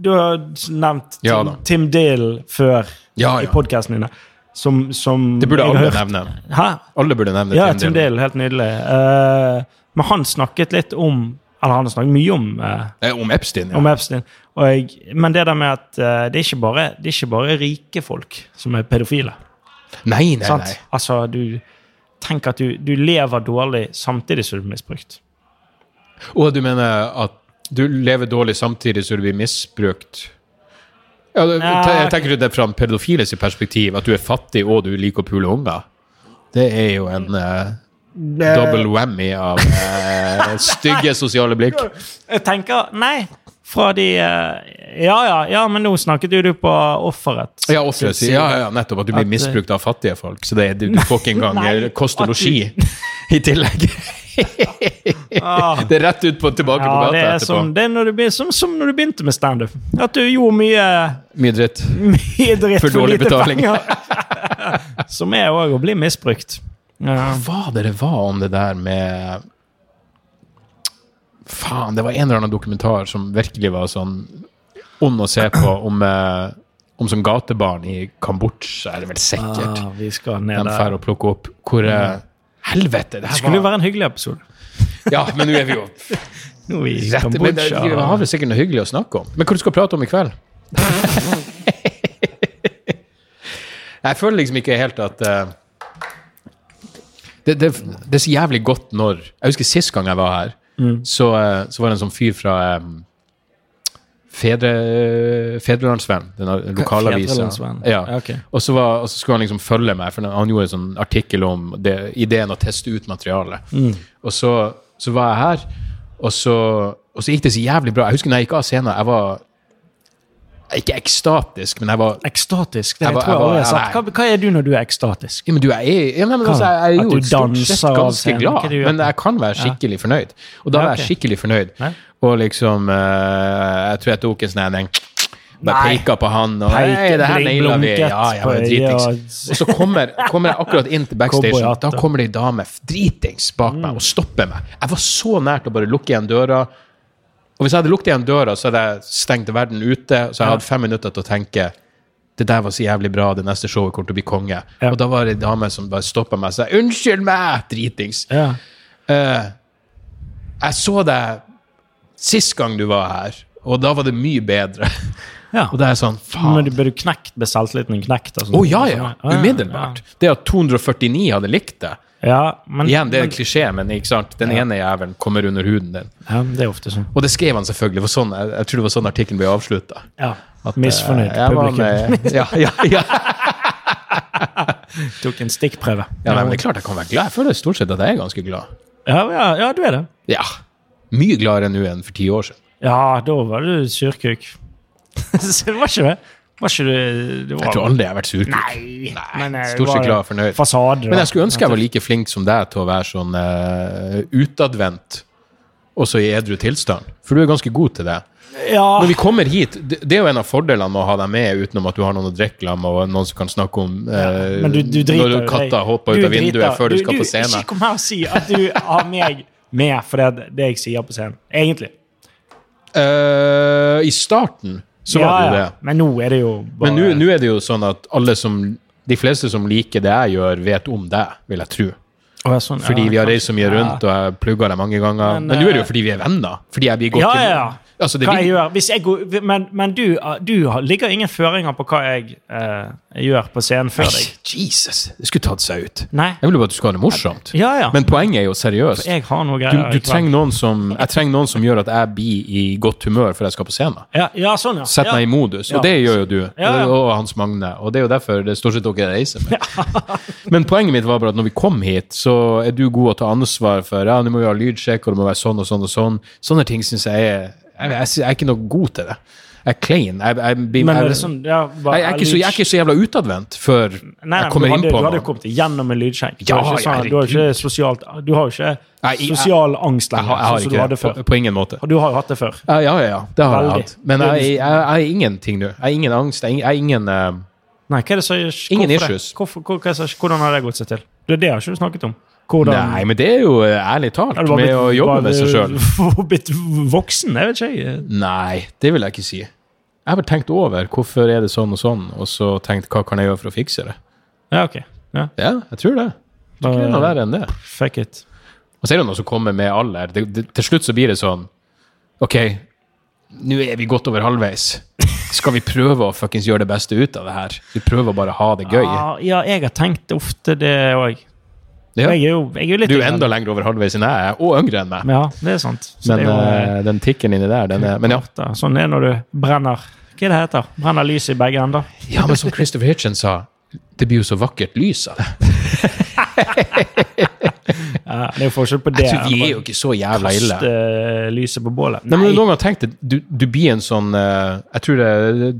S2: du har nevnt Tim,
S1: Ja da.
S2: Tim Dale før
S1: Ja,
S2: i
S1: ja.
S2: podkasten dine. Som, som
S1: Det burde
S2: jeg har
S1: alle
S2: hørt.
S1: nevne.
S2: Hæ?
S1: Alle burde nevne
S2: Ja,
S1: Tim
S2: Tim
S1: Dillon.
S2: Dale, helt nydelig. Eh, men han snakket litt om Eller han har snakket mye om, eh,
S1: Eh, om Epstein, ja.
S2: om Epstein. Og jeg, men det der med at eh, det, er ikke bare, det er ikke bare rike folk som er pedofile.
S1: nei, nei,
S2: sant?
S1: nei.
S2: Altså, du Tenk at du, du lever dårlig samtidig som du blir misbrukt.
S1: Og du mener at du lever dårlig samtidig som du blir misbrukt? Ja, det-
S2: Ja.
S1: te- jeg tenker det fra en pedofiles perspektiv, at du er fattig og du liker å pule unger. Det er jo en eh, double whammy av eh, stygge sosiale blikk.
S2: [LAUGHS] Jeg tenker Nei! Fra de eh, Ja, ja, ja, men nå snakket jo du på offeret.
S1: Ja, offeret sier ja, ja, nettopp at du blir
S2: At, eh,
S1: misbrukt av fattige folk. Så det, er- du, du får ikke engang
S2: [LAUGHS] Nei,
S1: eh, kost og
S2: at du-
S1: losji [LAUGHS] i tillegg. [LAUGHS]
S2: Ah.
S1: Det er rett ut på tilbake på
S2: Ja,
S1: gata
S2: det er,
S1: etterpå.
S2: som, det er når du, begyn- som, som når du begynte med standup. At du gjorde mye,
S1: Mye dritt.
S2: mye dritt
S1: For
S2: for,
S1: dårlig
S2: lite
S1: betaling.
S2: penger. [LAUGHS] som er òg å bli misbrukt. Ja.
S1: Hva det det var om det der med Faen, det var en eller annen dokumentar som virkelig var sånn ond å se på, om, eh, om sånn gatebarn i Kambodsja, er det vel sikkert.
S2: Ah, vi skal ned
S1: de
S2: der.
S1: drar og plukker opp. Hvor eh, Helvete! Det
S2: Det
S1: her
S2: Mm. skulle
S1: var
S2: jo være en hyggelig episode.
S1: Ja, men nå er vi jo
S2: Nå i
S1: rett Men det, vi har vel sikkert noe hyggelig å snakke om. Men hva du skal prate om i kveld? Jeg føler liksom ikke helt at eh, det, det, det er så jævlig godt når Jeg husker sist gang jeg var her, så, eh, så var det en sånn fyr fra um, Fedre, Fedrelandsvenn, den lokalavisa.
S2: Fedrelandsvenn.
S1: Ja.
S2: Ja, ok.
S1: Og, så var, og så skulle han liksom følge meg, for han gjorde en sånn artikkel om det, ideen å teste ut materialet. Og så, så var jeg her, og så, og så gikk det så jævlig bra. Jeg husker når jeg gikk av scenen, jeg var ikke ekstatisk, men jeg var
S2: Ekstatisk. Det
S1: Jeg var-
S2: tror jeg
S1: jeg var-
S2: aldri jeg har
S1: jeg
S2: sagt. Hva, hva er du når du er ekstatisk?
S1: Ja, men du, jeg er, ja, nei, men
S2: Hva?
S1: altså, jeg er
S2: At
S1: jo
S2: du
S1: stort
S2: danser
S1: sett
S2: av
S1: ganske
S2: scenen, hva
S1: glad,
S2: du gjør?
S1: men jeg kan være skikkelig fornøyd. Og da
S2: Ja,
S1: var jeg
S2: ok.
S1: skikkelig fornøyd.
S2: Ja.
S1: Og liksom eh, Jeg tror jeg tok en sånn en Bare
S2: Nei.
S1: peka på han og
S2: Peke,
S1: Nei, det her
S2: blink-
S1: naila vi.
S2: blunket
S1: Ja, ja, men
S2: på
S1: dritings.
S2: øyet og-
S1: Og så kommer, kommer jeg akkurat inn til backstage.
S2: Cowboyhatt,
S1: Da
S2: da.
S1: kommer det ei dame f- dritings bak meg og stopper meg. Jeg var så nær til å bare lukke igjen døra. Og hvis jeg hadde lukket igjen døra, så hadde jeg stengt verden ute. Så jeg hadde fem minutter til å tenke det der var så jævlig bra, det neste showet kommer til å bli konge.
S2: Ja.
S1: Og da var det ei dame som bare stoppa meg og sa 'unnskyld meg', dritings.
S2: Ja.
S1: Eh, jeg så deg sist gang du var her, og da var det mye bedre.
S2: Ja.
S1: [LAUGHS] og det er sånn,
S2: Men
S1: faen.
S2: du burde knekt med selvtilliten knekt. sånn.
S1: Å ja, ja. Umiddelbart. Det at 249 hadde likt det.
S2: Ja, men,
S1: Igjen, det er en klisjé, men ikke sant? den ene jævelen kommer under huden din.
S2: ja, det er ofte sånn.
S1: Og det skrev han selvfølgelig, for sånn, jeg, jeg tror det var sånn artikkelen ble avslutta.
S2: Ja. Misfornøyd
S1: Jeg var [LAUGHS]
S2: publikum.
S1: med- Ja, ja, ja.
S2: Tok en stikkprøve.
S1: ja nei, men det er klart jeg kan være glad. Jeg føler stort sett at jeg er ganske glad.
S2: Ja, ja, ja, du er det.
S1: Ja. Mye gladere nå enn for ti år siden.
S2: Ja, da var du surkuk. [LAUGHS] Så det var ikke det. Var ikke du det var,
S1: Jeg tror aldri jeg har vært surkuk.
S2: Nei, men jeg
S1: Stort
S2: var
S1: sett glad og fornøyd.
S2: Fasade.
S1: Men
S2: da.
S1: jeg skulle ønske jeg var like flink som deg til å være sånn eh, utadvendt, også i edru tilstand. For du er ganske god til det.
S2: Ja,
S1: Når vi kommer hit, det, det er jo en av fordelene med å ha deg med, utenom at du har noen å drikke sammen med, og noen som kan snakke om eh,
S2: men du, du driter
S1: når
S2: jo i
S1: katta
S2: deg.
S1: hopper ut
S2: Du
S1: av vinduet
S2: driter.
S1: før du, skal på
S2: Ikke
S1: scenen.
S2: kom her og si at du har meg med for det er det jeg sier på scenen. Egentlig.
S1: Eh, I starten så var det jo
S2: Ja, ja.
S1: det.
S2: Men nå er det jo bare
S1: Men nå- nå er det jo sånn at alle som de fleste som liker det jeg gjør, vet om deg, vil jeg tro.
S2: Å, ja, sånn,
S1: Fordi
S2: ja,
S1: vi har
S2: kanskje.
S1: reist så mye rundt, og jeg plugger deg mange ganger.
S2: Men,
S1: Men nå er det
S2: eh,
S1: jo fordi vi er venner. Fordi jeg blir godt
S2: Ja,
S1: til-
S2: ja, ja.
S1: Altså, det
S2: Hva jeg
S1: blir,
S2: gjør, hvis jeg går, men men du, du har- ligger ingen føringer på hva jeg eh, gjør på scenen før deg.
S1: Jesus, det skulle tatt seg ut.
S2: Nei.
S1: Jeg vil jo bare at du skal ha det morsomt.
S2: Ja, ja.
S1: Men poenget er jo seriøst.
S2: jeg har noe
S1: Du,
S2: greier.
S1: du
S2: i kveld.
S1: trenger noen som, jeg trenger noen som gjør at jeg blir i godt humør før jeg skal på scenen.
S2: ja, ja, sånn, ja.
S1: Sett meg i modus,
S2: Ja.
S1: og det gjør jo du.
S2: Ja, ja.
S1: Og Hans Magne. Og det er jo derfor det er stort sett dere reiser
S2: [LAUGHS]
S1: med. Men poenget mitt var bare at når vi kom hit, så er du god å ta ansvar for ja, du må jo ha lydsjekk, og det må være sånn og sånn og sånn. Sånne ting syns jeg er jeg, jeg, jeg er ikke noe god til det. Jeg er klein. Jeg, jeg, blir-
S2: Men er
S1: jeg,
S2: det sånn, ja, bare,
S1: jeg, jeg, er ikke så, jeg er ikke så jævla utadvendt før
S2: Nei, nei,
S1: jeg kommer
S2: men
S1: inn
S2: du
S1: på
S2: hadde, Du hadde jo
S1: noe.
S2: kommet gjennom en lydsjekk. Du
S1: Ja,
S2: har jo ikke, sånn, du har jo ikke, sosialt, du har jo ikke
S1: Nei, jeg-
S2: sosial angst
S1: Jeg har,
S2: lenger,
S1: jeg har
S2: sånn som du
S1: ikke
S2: hadde
S1: det. På,
S2: før.
S1: på ingen måte.
S2: Og Du har jo hatt det før.
S1: Ja, ja, ja. Det har jeg
S2: Veldig.
S1: hatt. Men jeg, jeg, jeg er ingenting nå. Jeg er ingen angst. Jeg er ing- jeg er ingen eh,
S2: Nei, hva er det som
S1: Ingen
S2: hvorfor det?
S1: issues.
S2: Hvorfor, hvor, hva er det som- hvordan har det gått seg til? Det, det har ikke du snakket om. Hvordan,
S1: Nei, men det er jo eh, ærlig talt
S2: Har du bare
S1: med
S2: blitt-
S1: å jobbe
S2: bare
S1: med seg sjøl.
S2: [LAUGHS] Blitt voksen? Jeg vet ikke. jeg.
S1: Nei, det vil jeg ikke si. Jeg har bare tenkt over hvorfor er det sånn og sånn, og så tenkt hva kan jeg gjøre for å fikse det.
S2: Ja, OK. Ja,
S1: Ja, jeg tror det. Jeg tror ikke det er noe verre enn det.
S2: fuck it.
S1: Og så er det noe som kommer med alder. Det, det, til slutt så blir det sånn OK, nå er vi godt over halvveis. Skal vi prøve å fuckings gjøre det beste ut av det her? Vi prøver å bare ha det gøy.
S2: Ja, Ah, ja, jeg har tenkt ofte det òg.
S1: Ja.
S2: Jeg er jo jeg er jo litt
S1: Du er
S2: yngre.
S1: enda lenger over halvveis enn jeg er, og yngre enn meg.
S2: Ja, det er sant. Så
S1: Men
S2: det er jo, eh,
S1: eh, den tikken inni der, den er Men ja.
S2: Da, Sånn er det når du brenner Hva er det heter? Brenner lyset i begge ender.
S1: ja, men som Christopher Hitchens sa, det blir jo så vakkert lys altså. av det.
S2: Ja, det er jo forskjell på det
S1: Jeg tror vi er jo ikke så jævla ille.
S2: kaste eh, lyset på bålet.
S1: Nei, men du noen gang tenkt det, du, du blir en sånn eh, Jeg tror det,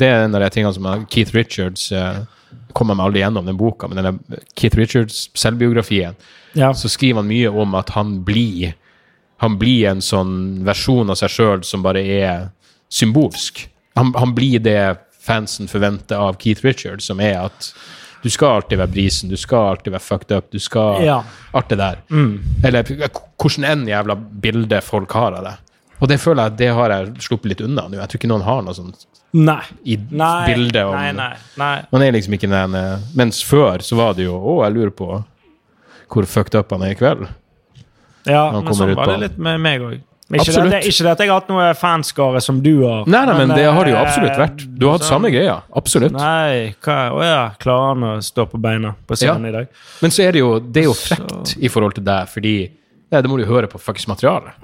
S1: det er en av de tingene som han- Keith Richards eh, kommer meg aldri gjennom den boka, men denne Keith Richards selvbiografien,
S2: ja.
S1: så skriver han mye om at han blir han blir en sånn versjon av seg sjøl som bare er symbolsk. Han, han blir det fansen forventer av Keith Richards, som er at du skal alltid være brisen, du skal alltid være fucked up, du skal
S2: Ja.
S1: Alt det der.
S2: Mm.
S1: Eller k- hvordan enn jævla bilde folk har av deg. Og det føler jeg at det har jeg sluppet litt unna nå. Jeg tror ikke noen har noe sånt
S2: Nei.
S1: i
S2: Nei.
S1: bildet. Om,
S2: nei, nei, nei.
S1: Man er liksom ikke den eh, Mens før så var det jo Å, jeg lurer på hvor fucked up han er i kveld.
S2: Ja,
S1: Han
S2: men
S1: kommer
S2: sånn
S1: ut
S2: var
S1: på
S2: det
S1: den.
S2: litt med meg òg. Ikke
S1: Absolutt.
S2: det at- ikke det at jeg har hatt noe fanskare som du har.
S1: Nei, nei, men det har det jo absolutt
S2: eh,
S1: vært. Du har hatt samme greia. Absolutt.
S2: Nei, hva Å ja, klarer han å stå på beina på scenen i dag?
S1: Men så er det jo, det er jo frekt i forhold til deg, fordi ja, det må du høre på faktisk materialet.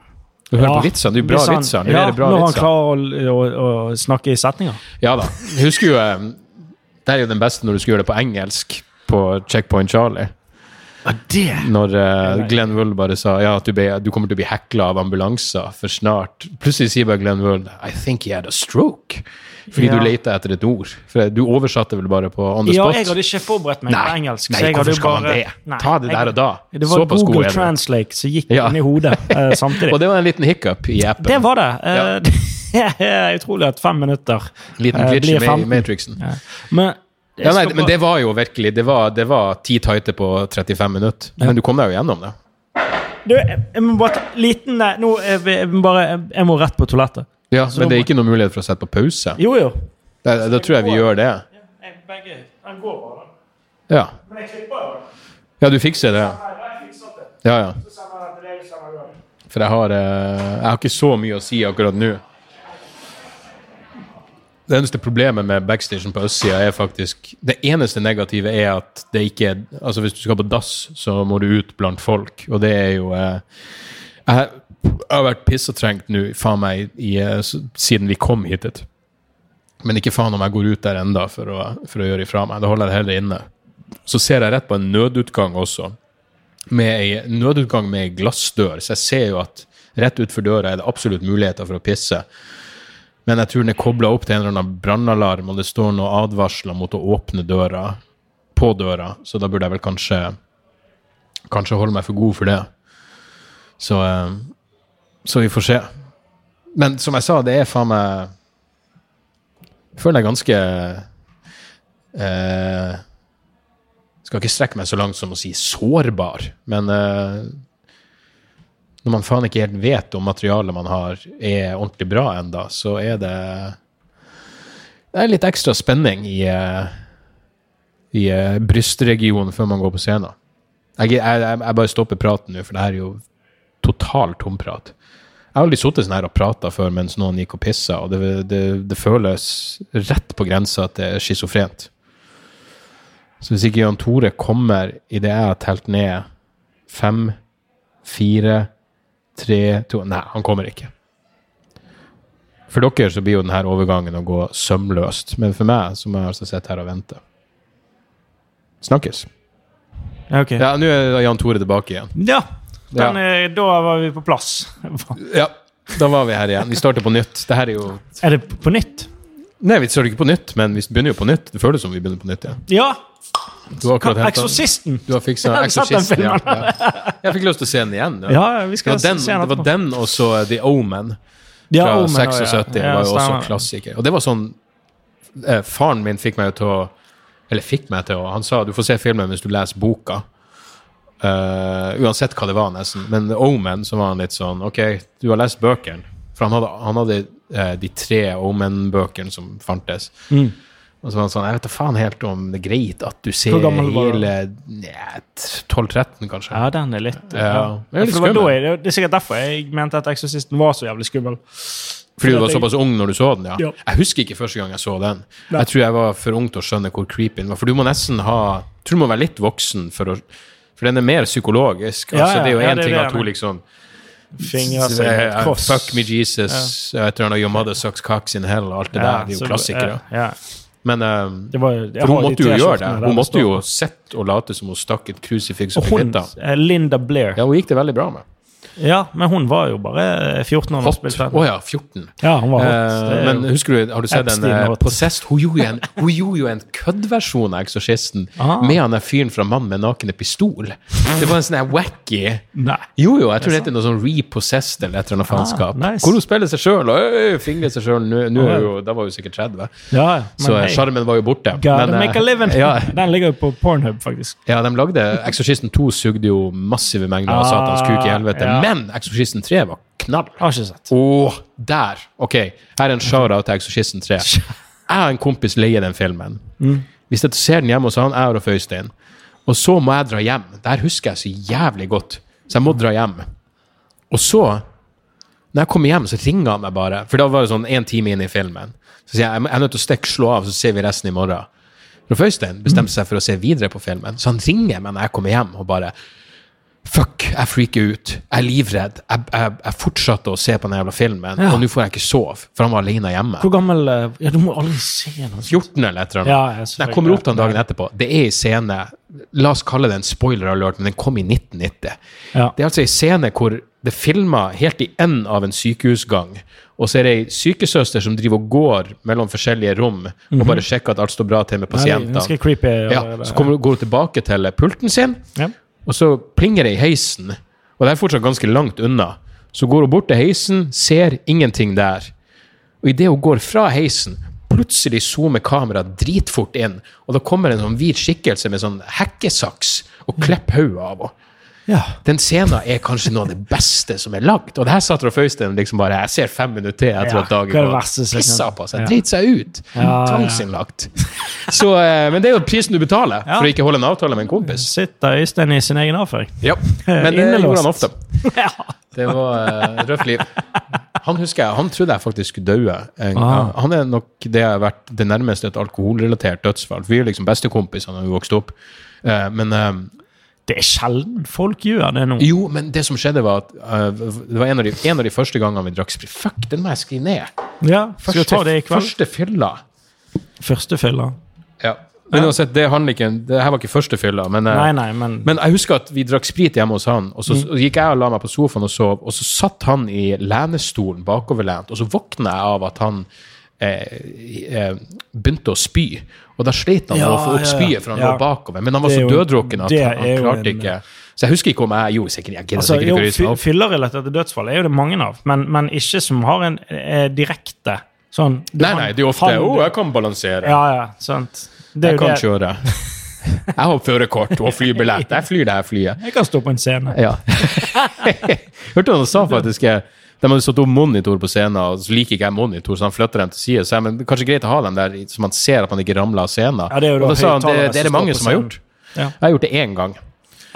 S1: Du hører
S2: Ja,
S1: på vitsene. Du er bra
S2: hvis han-
S1: vitsene. Du
S2: Ja,
S1: leverer bra
S2: når han
S1: vitser.
S2: klarer å, å, å snakke i setninger.
S1: Ja da. Jeg husker jo eh, Det er jo den beste når du skal gjøre det på engelsk på Checkpoint Charlie.
S2: Ah,
S1: Når eh, Glenn Wool bare sa ja, at du, be, du kommer til å bli hekla av ambulanser for snart. Plutselig sier bare Glenn Wool I think he had a stroke. Fordi
S2: Ja.
S1: du leter etter et ord. For du oversatte vel bare på on the
S2: Ja,
S1: spot?
S2: jeg hadde ikke forberedt meg på engelsk.
S1: nei
S2: så jeg hadde
S1: hvorfor
S2: jo
S1: skal man
S2: bare-
S1: det?
S2: Nei,
S1: Ta det
S2: jeg-
S1: der og da.
S2: Det var
S1: Såpass god
S2: Google
S1: er du.
S2: Translate som gikk
S1: Ja.
S2: inn i hodet
S1: [LAUGHS]
S2: eh, samtidig.
S1: Og det var en liten hiccup i appen.
S2: det var det. Eh, [LAUGHS] det er utrolig at fem minutter
S1: liten
S2: eh,
S1: glitch i
S2: blir
S1: ma-
S2: 15.
S1: Matrixen.
S2: Ja. Men, jeg
S1: Ja, nei,
S2: skal
S1: men
S2: bare-
S1: det var jo virkelig Det var, det var ti tighter på 35 minutter. Men du kom deg jo gjennom det.
S2: Du, jeg jeg må bare ta liten eh, Nå jeg, jeg må bare jeg, jeg må rett på toalettet.
S1: Ja,
S2: da
S1: Men det er
S2: må-
S1: ikke noe mulighet for å sette på pause.
S2: Jo, jo.
S1: Da, da tror jeg vi gjør det.
S2: Begge, den går bare.
S1: Ja,
S2: Men jeg klipper jo.
S1: ja du fikser det.
S2: Jeg fikser det.
S1: Ja, ja.
S2: Så sender jeg til deg samme gang.
S1: For jeg har, eh, jeg har ikke så mye å si akkurat nå. Det eneste problemet med backstagen på østsida er faktisk Det eneste negative er at det ikke er Altså, hvis du skal på dass, så må du ut blant folk, og det er jo eh, Jeg jeg har vært pissetrengt nå, faen meg, i, eh, s- siden vi kom hit. hit. Men ikke faen om jeg går ut der enda for å, for å gjøre ifra meg. Da holder jeg det heller inne. Så ser jeg rett på en nødutgang også med ei nødutgang med ei glassdør, så jeg ser jo at Rett utfor døra er det absolutt muligheter for å pisse. Men jeg tror den er kobla opp til en eller annen brannalarm, og det står noen advarsler mot å åpne døra på døra, så da burde jeg vel kanskje kanskje holde meg for god for det. Så, eh, så vi får se. Men som jeg sa, det er faen meg Jeg føler jeg ganske eh, Skal ikke strekke meg så langt som å si sårbar, men eh, når man faen ikke helt vet om materialet man har, er ordentlig bra enda, så er det Det er litt ekstra spenning i, eh, i eh, brystregionen før man går på scenen. Jeg, jeg, jeg, jeg bare stopper praten nå, for det her er jo total tomprat. Jeg har aldri sittet sånn her og prata før mens noen gikk og pissa, og det, det, det føles rett på grensa at det er schizofrent. Så hvis ikke Jan Tore kommer idet jeg har telt ned fem, fire, tre, to Nei, han kommer ikke. For dere så blir jo denne overgangen å gå sømløst, men for meg så må jeg altså sitte her og vente. Snakkes.
S2: Ja, ok.
S1: Ja, nå er Jan Tore tilbake igjen.
S2: Ja. Den, eh, Da var vi på
S1: [LAUGHS]
S2: plass.
S1: Ja, da var vi her igjen. Vi starter på nytt. Det her er jo
S2: Er det på nytt?
S1: Nei, vi starter ikke på nytt, men vi begynner jo på nytt. Det føles som vi begynner på nytt, ja.
S2: Ja!
S1: Du har akkurat hentet
S2: Eksorsisten!
S1: Du har fiksa
S2: Jeg har sett den
S1: Exorcisten. Ja, ja. Jeg fikk lyst til å se den igjen. Ja.
S2: Ja, vi
S1: Det
S2: skal
S1: var den,
S2: se den
S1: det var
S2: etterpå.
S1: den og så The Omen
S2: Ja,
S1: fra
S2: Omen, ja.
S1: 76
S2: Ja,
S1: var jo også
S2: stemmer.
S1: en klassiker. Og det var sånn eh, Faren min fikk meg til å Eller fikk meg til å Han sa du får se filmen hvis du leser boka. Eh, uansett hva det var, nesten. Men The Omen så var han litt sånn Ok, du har lest bøkene. For han hadde, han hadde eh, de tre Omen-bøkene som fantes.
S2: Mm.
S1: Og så var han sånn Jeg vet da faen helt om det er greit at du ser
S2: Hvor gammel var du?
S1: hele ja, 12-13, kanskje.
S2: Ja, den er litt
S1: Ja, den er litt
S2: for det, var da
S1: skummel.
S2: jeg, det er sikkert derfor jeg mente at Exorcisten var så jævlig skummel.
S1: Fordi du var
S2: at jeg-
S1: såpass ung når du så den? ja.
S2: Ja.
S1: Jeg husker ikke første gang jeg så den.
S2: Nei.
S1: Jeg tror jeg var for ung til å skjønne hvor creepy den var. For du må nesten ha jeg tror du må være litt voksen for å For den er mer psykologisk.
S2: Ja,
S1: altså, det er jo
S2: ja, ja,
S1: én
S2: det er
S1: ting
S2: det
S1: at
S2: den
S1: hun
S2: er.
S1: liksom
S2: Fingre seg i altså, et
S1: eh,
S2: kors.
S1: Fuck me, Jesus. eh, Et eller annet Your mother sucks cocks in hell. og Alt det der. Det er
S2: så-
S1: jo klassikere.
S2: Ja,
S1: Men eh,
S2: det var, jeg
S1: for
S2: har
S1: hun måtte jo
S2: de
S1: gjøre det.
S2: T-skjortene der
S1: Hun
S2: det
S1: måtte jo
S2: står.
S1: sitte og late som hun stakk et krusifiks
S2: Og
S1: opp i
S2: hun,
S1: fitta.
S2: eh, Linda Blair.
S1: Ja, hun gikk det veldig bra med.
S2: Ja, men hun var jo bare eh, 14 år da hun
S1: Hot.
S2: spilte
S1: Å
S2: den.
S1: ja, 14.
S2: Ja, hun var hot. Det
S1: Eh,
S2: er
S1: men
S2: jo-
S1: husker du, har du sett den
S2: Epstein
S1: eh,
S2: og-
S1: Possessed? Hun gjorde jo en, hun gjorde jo en køddversjon av Exorcisten
S2: Ah.
S1: med han der fyren fra Mannen med nakne pistol. Det var en sånn her wacky
S2: Nei.
S1: Jo, jo, jeg tror det heter noe sånn repossessed eller et eller annet faenskap.
S2: Ah, nice.
S1: Hvor hun spiller seg sjøl og øh, fingrer seg sjøl. Da var hun sikkert 30.
S2: Ja, ja, men
S1: Så eh,
S2: hei,
S1: sjarmen var jo borte.
S2: Gotta
S1: eh,
S2: make a living!
S1: ja,
S2: Den ligger jo på Pornhub, faktisk.
S1: ja, de lagde Exorcisten 2 sugde jo massive mengder av
S2: Ah,
S1: Satans kuk i helvete.
S2: ja.
S1: Men Exorcisten 3 var knall.
S2: Har ikke sett.
S1: Åh, der! Ok, her er en shout-out til Exorcisten 3. Jeg og en kompis leier den filmen. Vi sitter og ser den hjemme hos han, jeg og Rolf Øystein. Og så må jeg dra hjem. Det her husker jeg så jævlig godt. Så jeg må dra hjem. Og så, når jeg kommer hjem, så ringer han meg bare. For da var det sånn en time inn i filmen. Så sier jeg jeg er nødt til å stikke, slå av, så ser vi resten i morgen. Rolf Øystein bestemte seg for å se videre på filmen, så han ringer meg når jeg kommer hjem og bare Fuck, jeg freaker ut. Jeg er livredd. Jeg, jeg, jeg fortsatte å se på den jævla filmen,
S2: Ja.
S1: og nå får jeg ikke sove, for han var alene hjemme.
S2: Hvor gammel eh, Ja, du må aldri se noe sånt.
S1: 14 eller et eller annet.
S2: Ja, jeg,
S1: Når jeg kommer opp den dagen etterpå, det er en scene La oss kalle det en spoiler alert, men den kom i 1990.
S2: Ja.
S1: Det er altså en scene hvor det filmer helt i enden av en sykehusgang, og så er det ei sykesøster som driver og går mellom forskjellige rom og bare sjekker at alt står bra til med
S2: Mhm. Nei, det er
S1: pasientene.
S2: Ganske creepy.
S1: Ja, så kommer, går hun tilbake til pulten sin,
S2: Ja.
S1: og så plinger det i heisen. Og det er fortsatt ganske langt unna. Så går hun bort til heisen, ser ingenting der. Og idet hun går fra heisen, plutselig zoomer kameraet dritfort inn, og da kommer en sånn hvit skikkelse med sånn hekkesaks
S2: Mhm.
S1: og klipper hodet av henne.
S2: Ja.
S1: Den scenen er kanskje noe av det beste som er lagd. Og det her satt Rolf Øystein liksom bare Jeg ser fem minutter til etter
S2: Ja,
S1: at dagen
S2: hva er det
S1: går.
S2: verste som kan-
S1: Pissa på seg.
S2: Ja.
S1: Drit seg ut.
S2: ja, ja.
S1: Tvangsinnlagt. Så, eh, men det er jo prisen du betaler
S2: Ja.
S1: for å ikke holde en avtale med en kompis.
S2: Sitter Øystein i sin egen avføring.
S1: Ja. Men det
S2: Innelåst.
S1: gjorde han ofte.
S2: [LAUGHS] ja.
S1: Det var eh, røft liv. Han husker jeg, han trodde jeg faktisk skulle daue. en-
S2: Ah.
S1: Han er nok det jeg har vært det nærmeste et alkoholrelatert dødsfall. Vi er liksom bestekompiser når vi vokste opp. Eh, men eh,
S2: Det er sjelden folk gjør det nå.
S1: Jo, men det som skjedde, var at eh, det var en av, de, en av de første gangene vi drakk sprit. Fuck, den må jeg skrive ned!
S2: Ja, Skal vi ta det i kveld?
S1: første fylla.
S2: Første fylla.
S1: Ja. Men uansett, det handler ikke Det her var ikke første fylla, men, eh,
S2: Nei, Mm. nei, men,
S1: men jeg husker at vi drakk sprit hjemme hos han, og så og gikk jeg og la meg på sofaen og sov, og så satt han i lenestolen bakoverlent, og så våkna jeg av at han eh, eh, begynte å spy. Og da sleit han med å
S2: Ja,
S1: få opp
S2: ja, ja.
S1: spyet, for han
S2: Ja.
S1: lå bakover. Men han var
S2: Det
S1: så
S2: er jo-
S1: døddrukken at
S2: det
S1: han,
S2: er
S1: han
S2: jo
S1: klarte
S2: en-
S1: ikke Så jeg husker ikke om jeg gjorde sikkert Jeg gidder
S2: altså,
S1: sikkert
S2: jo,
S1: ikke å ryse meg
S2: fy-
S1: opp.
S2: Fyllerelaterte dødsfall er jo det mange av, men, men ikke som har en eh, direkte sånn
S1: Nei, nei, det er jo ofte
S2: han-
S1: 'Å, jeg kan balansere.
S2: Ja, ja, sant. Det
S1: jeg
S2: er jo
S1: kan
S2: det. [LAUGHS]
S1: kjøre. Jeg har førerkort og flybillett. Jeg flyr det her flyet.
S2: Jeg kan stå på en scene.
S1: Ja. [LAUGHS] Hørte du han sa faktisk eh, De hadde satt opp monitor på scenen, og så liker ikke jeg monitor, så han flytter den til side. Så jeg, men det er kanskje greit å ha den der, så man ser at man ikke ramler av scenen.
S2: Ja, det er jo da
S1: og da sa han det,
S2: høyttalere
S1: det er det
S2: som
S1: mange
S2: står på
S1: som har
S2: scenen.
S1: gjort.
S2: Ja.
S1: Jeg har gjort det én gang.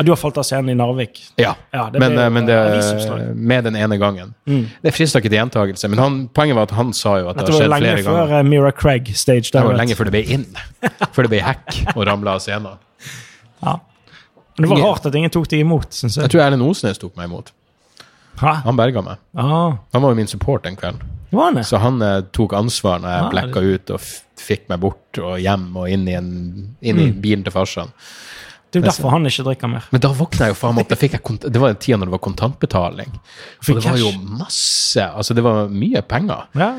S2: Ja, du har falt av scenen i Narvik.
S1: Ja.
S2: Ja, det
S1: men,
S2: ble jo,
S1: eh, men det,
S2: eh, avisoppslag.
S1: med den ene gangen.
S2: Mm.
S1: Det frista ikke til gjentakelse, men han, poenget var at han sa jo at det har
S2: Dette var jo
S1: skjedd
S2: lenge
S1: flere
S2: før
S1: ganger.
S2: eh, Mira Craig stage
S1: Det var
S2: direct.
S1: lenge før det ble inn. Før det ble hack og ramla av scenen.
S2: Ja. Men det var
S1: Ingen-
S2: rart at ingen tok deg imot, syns
S1: Jeg
S2: jeg.
S1: tror Erlend Osnes tok meg imot.
S2: Hæ?
S1: Han berga meg.
S2: Ah,
S1: Han var jo min support den kvelden.
S2: var han det?
S1: Så han eh, tok ansvar når jeg
S2: Ah,
S1: blekka ut og f- fikk meg bort og hjem og inn i, en, inn i bilen til farsan.
S2: Det er jo derfor han ikke drikker mer.
S1: Men da våkna jeg jo faen meg opp. Da fikk jeg kont det var en tid når det var kontantbetaling. Og
S2: Fikk
S1: det var
S2: cash.
S1: jo masse Altså, det var mye penger.
S2: Ja.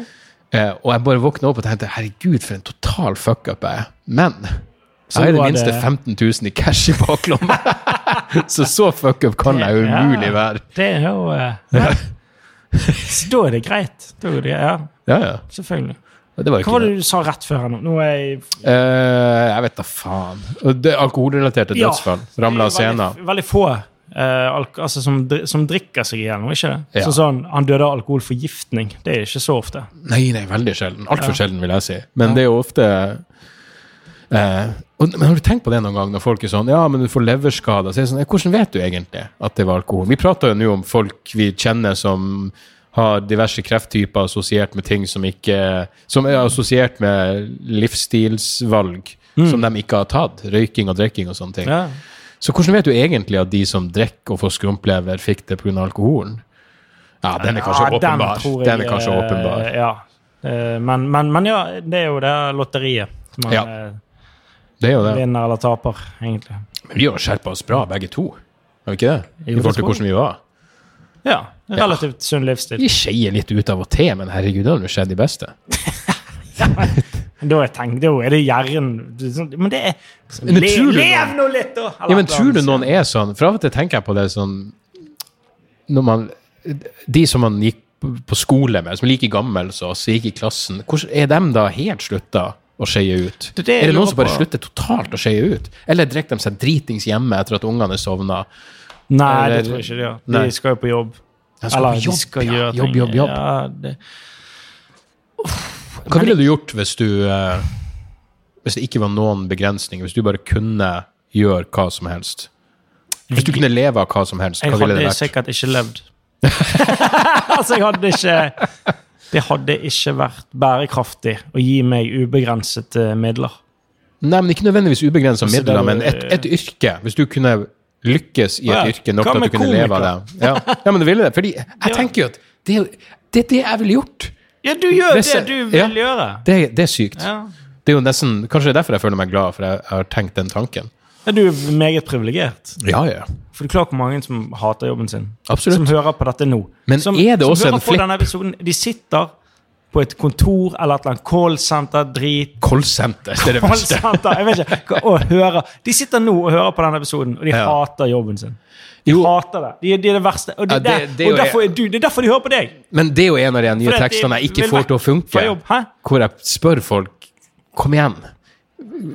S1: Eh, og jeg bare våkna opp og tenkte herregud, for en total fuckup jeg er. Men
S2: Så
S1: jeg har i det
S2: var
S1: minste 15
S2: det-
S1: 000 i cash i
S2: [LAUGHS]
S1: baklomma. så så fuckup kan jeg jo
S2: Ja.
S1: umulig være.
S2: Det er jo eh, ja. Så da er det greit. Da er det, ja,
S1: Ja, ja.
S2: selvfølgelig.
S1: Og Det var jo
S2: Hva
S1: ikke
S2: var
S1: det.
S2: det du sa rett før her nå? Nå er jeg
S1: Eh, jeg vet da faen. Og Det alkoholrelaterte
S2: Ja.
S1: dødsfall. Ramla av
S2: Det er
S1: scenen.
S2: Veldig, veldig få eh, alk altså, som, dri- som drikker seg ihjel nå, ikke det?
S1: Ja.
S2: Så sånn, han døde av alkoholforgiftning. Det er ikke så ofte.
S1: Nei, nei, veldig sjelden. Altfor sjelden, vil jeg si. Men det er jo ofte eh, og, Men har du tenkt på det noen gang når folk er sånn Ja, men du får leverskader. Så er det sånn, ja, hvordan vet du egentlig at det var alkohol? Vi prater jo nå om folk vi kjenner som har diverse krefttyper assosiert med ting som ikke Som er assosiert med livsstilsvalg som de ikke har tatt. Røyking og drikking og sånne ting.
S2: Mm. Ja.
S1: Så hvordan vet du egentlig at de som drikker og får skrumplever, fikk det pga. alkoholen? Ja, den er kanskje
S2: Ja,
S1: åpenbar.
S2: tror
S1: Den,
S2: jeg,
S1: er kanskje
S2: eh,
S1: åpenbar.
S2: Ja. Eh, Men, men, men ja, det er jo det lotteriet. som Man
S1: Ja.
S2: eh,
S1: Det er jo det.
S2: vinner eller taper, egentlig.
S1: Men vi har skjerpa oss bra, begge to. Har vi ikke det? I
S2: Jo,
S1: forhold til
S2: det tror jeg.
S1: hvordan vi var.
S2: Ja. Relativt sunn livsstil.
S1: Vi skeier litt ut av og til, men herregud, det har jo skjedd de beste.
S2: Da har jeg tenkt, da er det hjernen det er sånn- Men det er
S1: Men
S2: le,
S1: tror du
S2: Lev
S1: noen-
S2: nå litt, da! eller
S1: Ja, men
S2: et eller
S1: tror du
S2: annet.
S1: noen er sånn? For av og til tenker jeg på det sånn Når man De som man gikk på skole med, som er like gammel som oss, gikk i klassen, hvordan, er dem da helt slutta å skeie ut?
S2: Det er det jeg
S1: er det noen
S2: lurer
S1: som bare
S2: på.
S1: slutter totalt å skeie ut? Eller drikker de seg dritings hjemme etter at ungene sovna?
S2: Nei, det
S1: Eller-
S2: tror jeg ikke de gjør.
S1: Nei.
S2: De skal jo på jobb.
S1: De skal på jobb, ja. Jobb,
S2: ting.
S1: jobb, jobb.
S2: Ja, det,
S1: Hva ville du gjort hvis du eh, Hvis det ikke var noen begrensninger, hvis du bare kunne gjøre hva som helst? Hvis du kunne leve av hva som helst,
S2: jeg
S1: hva ville det
S2: hadde
S1: vært?
S2: sikkert ikke
S1: [LAUGHS]
S2: levd. altså, jeg hadde ikke Det hadde ikke vært bærekraftig å gi meg ubegrensede midler.
S1: Nei, men Ikke nødvendigvis ubegrensa
S2: Så
S1: midler,
S2: det-
S1: men et, et yrke. Hvis du kunne lykkes i et
S2: Å ja,
S1: yrke nok
S2: hva
S1: til at
S2: med
S1: du kunne leve av det. Ja. ja, men du ville det. Fordi jeg tenker jo at det er jo- det, er det jeg ville gjort.
S2: Ja, du gjør
S1: Hvis
S2: det
S1: jeg-
S2: du vil
S1: ja.
S2: gjøre.
S1: Det, det er sykt.
S2: Ja.
S1: Det er jo nesten, Kanskje det er derfor jeg føler meg glad, for jeg har tenkt den tanken.
S2: Ja, du er meget privilegert.
S1: Ja, ja.
S2: For du klarer hvor mange som hater jobben sin.
S1: Absolutt.
S2: Som hører på dette nå.
S1: Men
S2: som,
S1: er det
S2: som
S1: også
S2: hører
S1: en
S2: på denne episoden. De sitter på et kontor eller et eller annet callsenter, drit
S1: Callsenter det er det verste.
S2: Callsenter, jeg vet ikke, hva- og hører. De sitter nå og hører på denne episoden, og de
S1: Ja.
S2: hater jobben sin. De
S1: Jo.
S2: hater det. De, de er det verste. Og,
S1: Ja,
S2: det, er
S1: det-
S2: der-
S1: det er jo-
S2: og derfor er du, det er derfor de hører på deg.
S1: Men det er jo en av de nye
S2: Fordi at de
S1: tekstene jeg ikke
S2: vil
S1: får
S2: vekk
S1: til å
S2: fra
S1: funke.
S2: jobb. Hæ?
S1: Hvor jeg spør folk Kom igjen.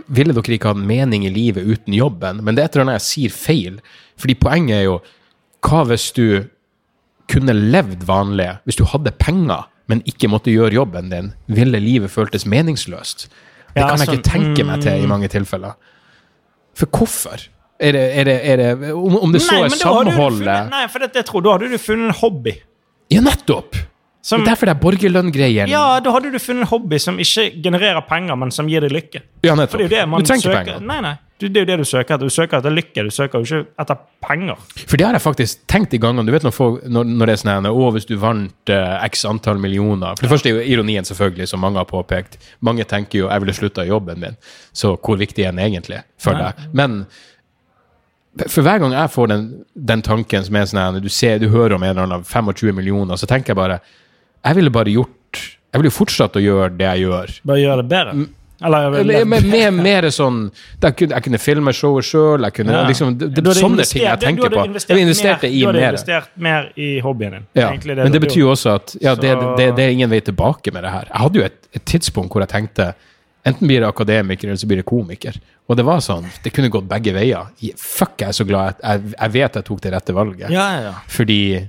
S1: Ville dere ikke hatt mening i livet uten jobben? Men det er et eller annet jeg sier feil. Fordi poenget er jo Hva hvis du kunne levd vanlig? Hvis du hadde penger, men ikke måtte gjøre jobben din, ville livet føltes meningsløst? Det
S2: Ja,
S1: kan jeg ikke
S2: sånn,
S1: tenke meg til i mange tilfeller. For hvorfor? Er det, er det, er det om, om det så er
S2: men da hadde du funnet-
S1: samholdet Mm.
S2: Nei, for det, det tror, da hadde du funnet en hobby.
S1: Ja, nettopp!
S2: Som,
S1: Det er derfor det er borgerlønngreien.
S2: ja, da hadde du funnet en hobby som ikke genererer penger, men som gir deg lykke.
S1: Ja,
S2: For
S1: nettopp.
S2: det er jo det man
S1: du trenger
S2: søker.
S1: penger.
S2: Nei, nei. Du, det er jo det du søker etter. Du søker etter lykke, du søker jo ikke etter penger.
S1: For det har jeg faktisk tenkt i gangene. Du vet når, folk, når, når det er sånn her, Å, hvis du vant eh, x antall millioner For det første er jo ironien, selvfølgelig, som mange har påpekt. Mange tenker jo 'jeg ville slutta i jobben min', så hvor viktig er den egentlig for
S2: Nei.
S1: deg? Men for hver gang jeg får den, den tanken som er sånn her, du, ser, du hører om en eller annen 25 millioner, så tenker jeg bare Jeg ville bare gjort Jeg ville jo fortsatt å gjøre det jeg gjør.
S2: Bare gjør det bedre. Eller
S1: Med, Mm. med, med, mer sånn jeg kunne, jeg kunne filme showet sjøl.
S2: Ja.
S1: Liksom, det, det,
S2: Du hadde
S1: sånne
S2: investert-
S1: ting jeg
S2: du
S1: tenker
S2: hadde
S1: på.
S2: investert
S1: Jeg investerte i
S2: mer, Du hadde
S1: mer.
S2: investert mer i hobbyen din.
S1: Ja,
S2: Egentlig
S1: men det
S2: du
S1: betyr jo også at ja, det,
S2: Så-
S1: det, det er ingen vei tilbake med det her. Jeg hadde jo et, et tidspunkt hvor jeg tenkte enten blir det akademiker, eller så blir det komiker. Og det var sånn, det kunne gått begge veier. Je- Fuck, jeg er så glad. Jeg, jeg, jeg vet jeg tok det rette valget.
S2: Ja, ja, ja.
S1: Fordi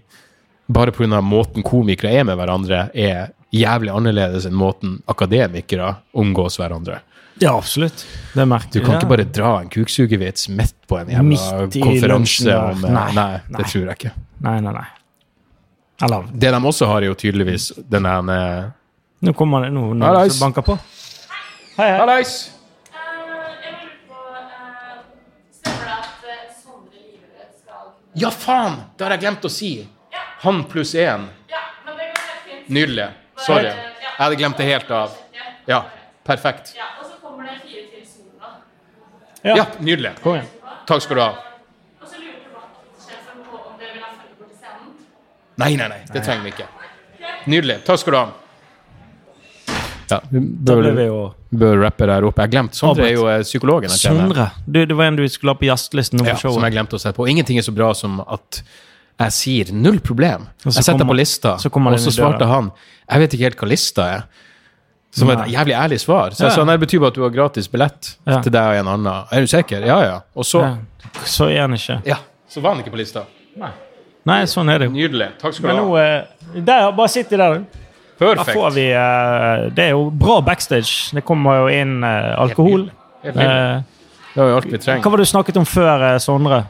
S1: bare pga. måten komikere er med hverandre, er jævlig annerledes enn måten akademikere omgås hverandre.
S2: ja, absolutt. Det merker
S1: Du kan
S2: ja.
S1: ikke bare dra en kuksugevits midt på en jævla
S2: Midt i
S1: konferanse.
S2: lunsjen der.
S1: Om, eh,
S2: Nei,
S1: nei,
S2: nei.
S1: det tror jeg ikke.
S2: Nei, nei, nei. Eller
S1: Det de også har, er jo tydeligvis den der
S2: Nå kommer det noen
S1: Ja,
S2: noen
S1: nice.
S2: som banker på.
S1: Hallais!
S3: jeg lurer på eh, Stemmer det at eh, Sondre Livre skal kunne
S1: Ja, faen! Det har jeg glemt å si. Han pluss én.
S3: Ja, men det går helt fint.
S1: Nydelig.
S3: Eh,
S1: Sorry. Jeg hadde glemt det helt av. Ja, perfekt.
S3: Ja, og så kommer det fire til Sola.
S1: Ja, nydelig.
S2: Kom igjen.
S1: Takk skal du ha.
S3: Og så lurer produksjonssjefen på om dere vil ha følgebord til scenen.
S1: Nei, nei, nei. Det trenger vi ikke. Nydelig. Takk skal du ha. Ja, vi
S2: Da
S1: bør,
S2: ble vi jo
S1: bør rappe der oppe. Jeg glemte Sondre er jo eh, psykologen. jeg kjenner.
S2: Sondre. Du, det var en du skulle ha på gjestelisten nå på
S1: Ja, som
S2: showet.
S1: jeg glemte å sette på. Ingenting er så bra som at jeg sier 'null problem'. Jeg
S2: så
S1: setter
S2: kommer-
S1: på lista,
S2: så kommer
S1: og
S2: den
S1: så
S2: i døra.
S1: svarte han 'jeg vet ikke helt hva lista er'. Som et
S2: Nei.
S1: jævlig ærlig svar. Så jeg
S2: Ja.
S1: sa nei, det betyr bare at du har gratis billett
S2: Ja.
S1: til deg og en annen. Er du sikker? Ja, ja. Og så
S2: Ja. Så er han ikke.
S1: Ja, så var han ikke på lista.
S2: Nei, sånn er det jo.
S1: Nydelig. Takk skal
S2: Men
S1: du
S2: nå
S1: ha.
S2: eh, Der, bare sitt i der, du. Da får
S1: Perfekt.
S2: vi eh, Det er jo bra backstage. Det kommer jo inn eh, alkohol.
S1: Helt nydelig.
S2: Eh,
S1: Det var jo alt vi
S2: hva
S1: trenger.
S2: var det du snakket om før, eh, Sondre?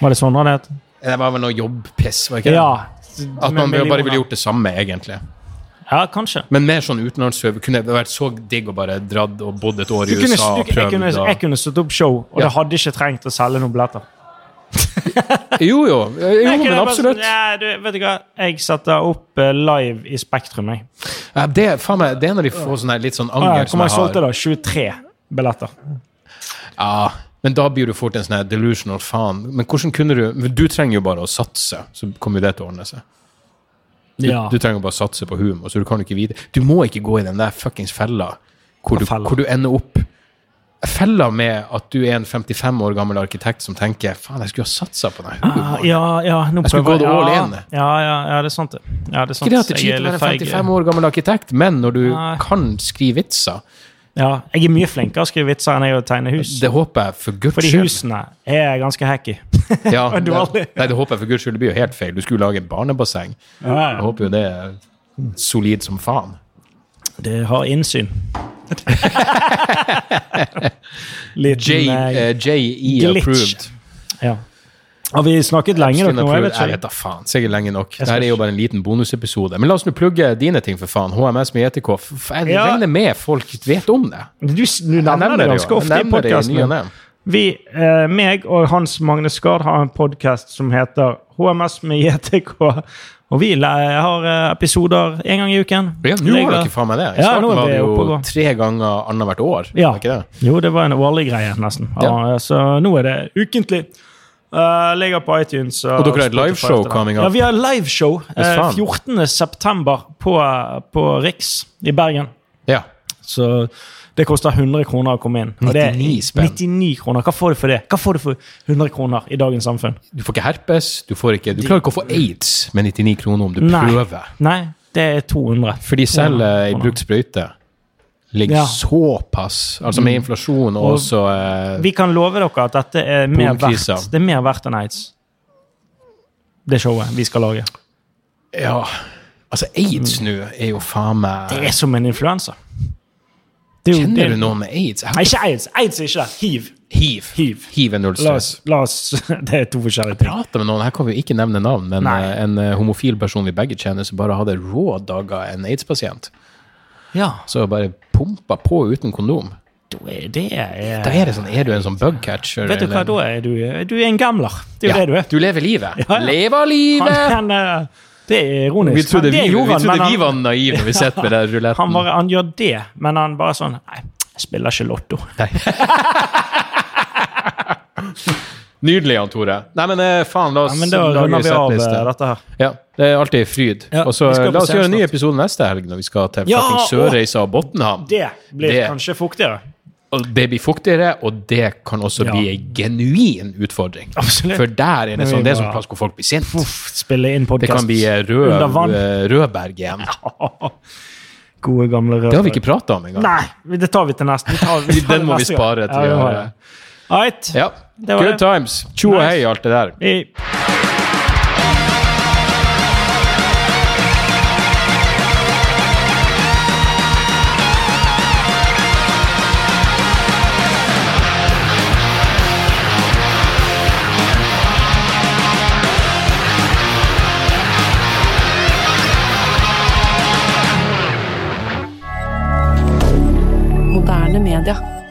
S2: Var det Sondre han het?
S1: Det var vel noe jobbpiss, var ikke det?
S2: Ja.
S1: At
S2: med
S1: man bare ville
S2: millioner.
S1: gjort det samme, egentlig.
S2: Ja, kanskje.
S1: Men mer sånn utenlandsøver. Kunne det vært så digg å bare dratt og bodd et år
S2: Du
S1: i
S2: kunne,
S1: USA
S2: du,
S1: og
S2: jeg,
S1: prøvd?
S2: kunne,
S1: og-
S2: jeg kunne stått opp show, og
S1: Ja.
S2: det hadde ikke trengt å selge noen billetter.
S1: Jo, jo. Eh, Jo,
S2: Jeg kunne
S1: men
S2: bare sånn,
S1: absolutt.
S2: Ja, du, vet du hva? Jeg setter opp eh, live i Spektrum, jeg.
S1: Ja, det, er- faen meg, det er når de får sånn her litt sånn
S2: Ah,
S1: anger
S2: Hvor
S1: som
S2: mange
S1: jeg
S2: solgte,
S1: har.
S2: da? 23 billetter.
S1: Ja, men da blir du fort en sånn her delusional faen. Men hvordan kunne du men Du trenger jo bare å satse, så kommer jo det til å ordne seg. Du,
S2: Ja.
S1: du trenger jo bare å satse på humor, så du kan jo ikke vite Du må ikke gå i den der fuckings fella hvor du,
S2: Hva fella?
S1: hvor du ender opp Fella med at du er en 55 år gammel arkitekt som tenker faen, jeg skulle ha satsa på den humoren.
S2: Ah, ja, ja, nå
S1: skal gå
S2: prøver
S1: det all
S2: ja,
S1: in.
S2: Ja, ja, ja, det er sant, det. Ja, det er
S1: Ikke
S2: sant.
S1: det at det er
S2: Jeg
S1: kjipt
S2: er
S1: å
S2: litt
S1: være
S2: feig.
S1: 55 år gammel arkitekt, men når du
S2: Nei.
S1: kan skrive vitser
S2: Ja, jeg er mye flinkere å skrive vitser enn jeg er å tegne hus.
S1: Det håper jeg for guds
S2: Fordi
S1: skyld.
S2: husene er ganske hacky. [LAUGHS]
S1: Ja,
S2: Og dårlig.
S1: det, nei, det håper jeg for guds skyld. Det blir jo helt feil. Du skulle jo lage en barnebasseng. Jeg håper jo det er solid som faen.
S2: Det
S1: [LAUGHS]
S2: har innsyn. Liten
S1: J,
S2: eh,
S1: eh, JE
S2: glitch.
S1: approved.
S2: Ja. Har vi snakket lenge nok
S1: Stund
S2: nå? Jeg
S1: approved.
S2: vet
S1: Jeg
S2: ikke.
S1: vet da faen. Sikkert lenge nok.
S2: skal
S1: Dette er jo bare en liten bonusepisode. Men la oss nå plugge dine ting, for faen. HMS med JTK. F- f- Jeg
S2: Ja.
S1: regner med folk vet om det.
S2: Du, du
S1: Jeg
S2: nevner det
S1: jo.
S2: ganske ofte
S1: Jeg
S2: i
S1: nevner det i ny og
S2: podkasten.
S1: ne.
S2: Vi, eh, meg og Hans Magne Skard har en podkast som heter HMS med JTK. Og vi le- har eh, episoder én gang i uken.
S1: Ja, nå har
S2: Legger-
S1: dere faen meg det. I
S2: Ja, nå
S1: starten
S2: er
S1: var
S2: vi
S1: det
S2: oppe og
S1: jo
S2: gå.
S1: tre ganger annethvert år.
S2: Ja.
S1: Var ikke det?
S2: Jo, det var en årlig greie, nesten. Ja. Så nå er det ukentlig. Eh, ligger på iTunes.
S1: Og dere har et liveshow coming up.
S2: Ja, vi har liveshow
S1: Yes,
S2: uh,
S1: faen.
S2: 14.9. På, på Riks i Bergen.
S1: Ja.
S2: Så det koster 100 kroner å komme inn. Og det er
S1: 99 spenn.
S2: 99 kroner. Hva får du for det? Hva får du for 100 kroner i dagens samfunn?
S1: Du får ikke herpes. Du, får ikke, du klarer ikke å få aids med 99 kroner om du
S2: Nei.
S1: prøver.
S2: Nei, det er 200.
S1: For de selv
S2: Ja,
S1: eh, i
S2: ja.
S1: brukt sprøyte ligger
S2: Ja. Mm.
S1: såpass Altså med inflasjon og
S2: Og
S1: også eh,
S2: Vi kan love dere at dette er mer verdt,
S1: Polkrisa.
S2: det er mer verdt enn aids. Det showet vi skal lage.
S1: Ja. Altså, aids nå er jo faen meg
S2: Mm. Det er som en influensa. Det er jo- det
S1: Kjenner
S2: er-
S1: du noen med aids? Jeg har
S2: Nei, ikke aids. Aids er ikke det. Hiv.
S1: hiv.
S2: Hiv.
S1: Hiv er null
S2: La
S1: stress.
S2: oss, la oss [LAUGHS] Det er to forskjellige ting.
S1: Prate med noen, Her kan vi jo ikke nevne navn, men
S2: Nei.
S1: eh, en eh, homofil person vi begge kjenner, som bare hadde rå dager en aids-pasient,
S2: Ja.
S1: så bare pumpa på uten kondom.
S2: Da er det er,
S1: Da er det sånn, er du en sånn bugcatcher?
S2: Vet du hva, da er du, du er en gamler. Det er jo det du er.
S1: Du lever livet.
S2: Ja, ja.
S1: Lever
S2: Han,
S1: livet!
S2: han, eh, det er ironisk.
S1: Vi trodde
S2: men
S1: vi,
S2: det
S1: vi,
S2: gjorde han, men
S1: trodde vi
S2: han-
S1: var
S2: [LAUGHS]
S1: naive når vi satt med den ruletten.
S2: Han, bare, han gjør det, men han bare sånn Nei, jeg spiller ikke lotto.
S1: Nydelig, Jan Tore. Nei, men eh, faen, la
S2: Ja,
S1: oss
S2: men da
S1: lage
S2: runder vi av eh,
S1: settliste.
S2: dette her.
S1: Ja, det er alltid fryd.
S2: Ja,
S1: og så
S2: vi skal
S1: eh,
S2: på
S1: La oss gjøre en ny
S2: Sørstad.
S1: episode neste helg, når vi skal til
S2: Ja,
S1: fucking
S2: og-
S1: Sørreisa og Botnhamn.
S2: Det blir
S1: Det.
S2: kanskje fuktigere.
S1: Og det blir fuktigere, og det kan også
S2: Ja.
S1: bli en genuin utfordring.
S2: Absolutt.
S1: For der er det
S2: vi
S1: sånn, det er
S2: bare-
S1: sånn plass hvor folk blir sint.
S2: Uff, spille inn
S1: Det kan
S2: podkast
S1: bli eh, rød,
S2: Under vann.
S1: eh, Rødberg igjen.
S2: [LAUGHS] Gode, gamle røde.
S1: Det har vi ikke prata om engang.
S2: Nei, vi- det tar vi til neste.
S1: [LAUGHS]
S2: Vi tar, vi tar
S1: Den må
S2: det
S1: vi
S2: [LAUGHS] neste
S1: spare
S2: gang.
S1: til å
S2: Ja, vi må
S1: gjøre.
S2: det. Alright.
S1: Ja.
S2: Det var
S1: Good
S2: det.
S1: times. Tjo og
S2: Nice.
S1: hei, alt det der.
S2: Vi-
S4: Moderne media.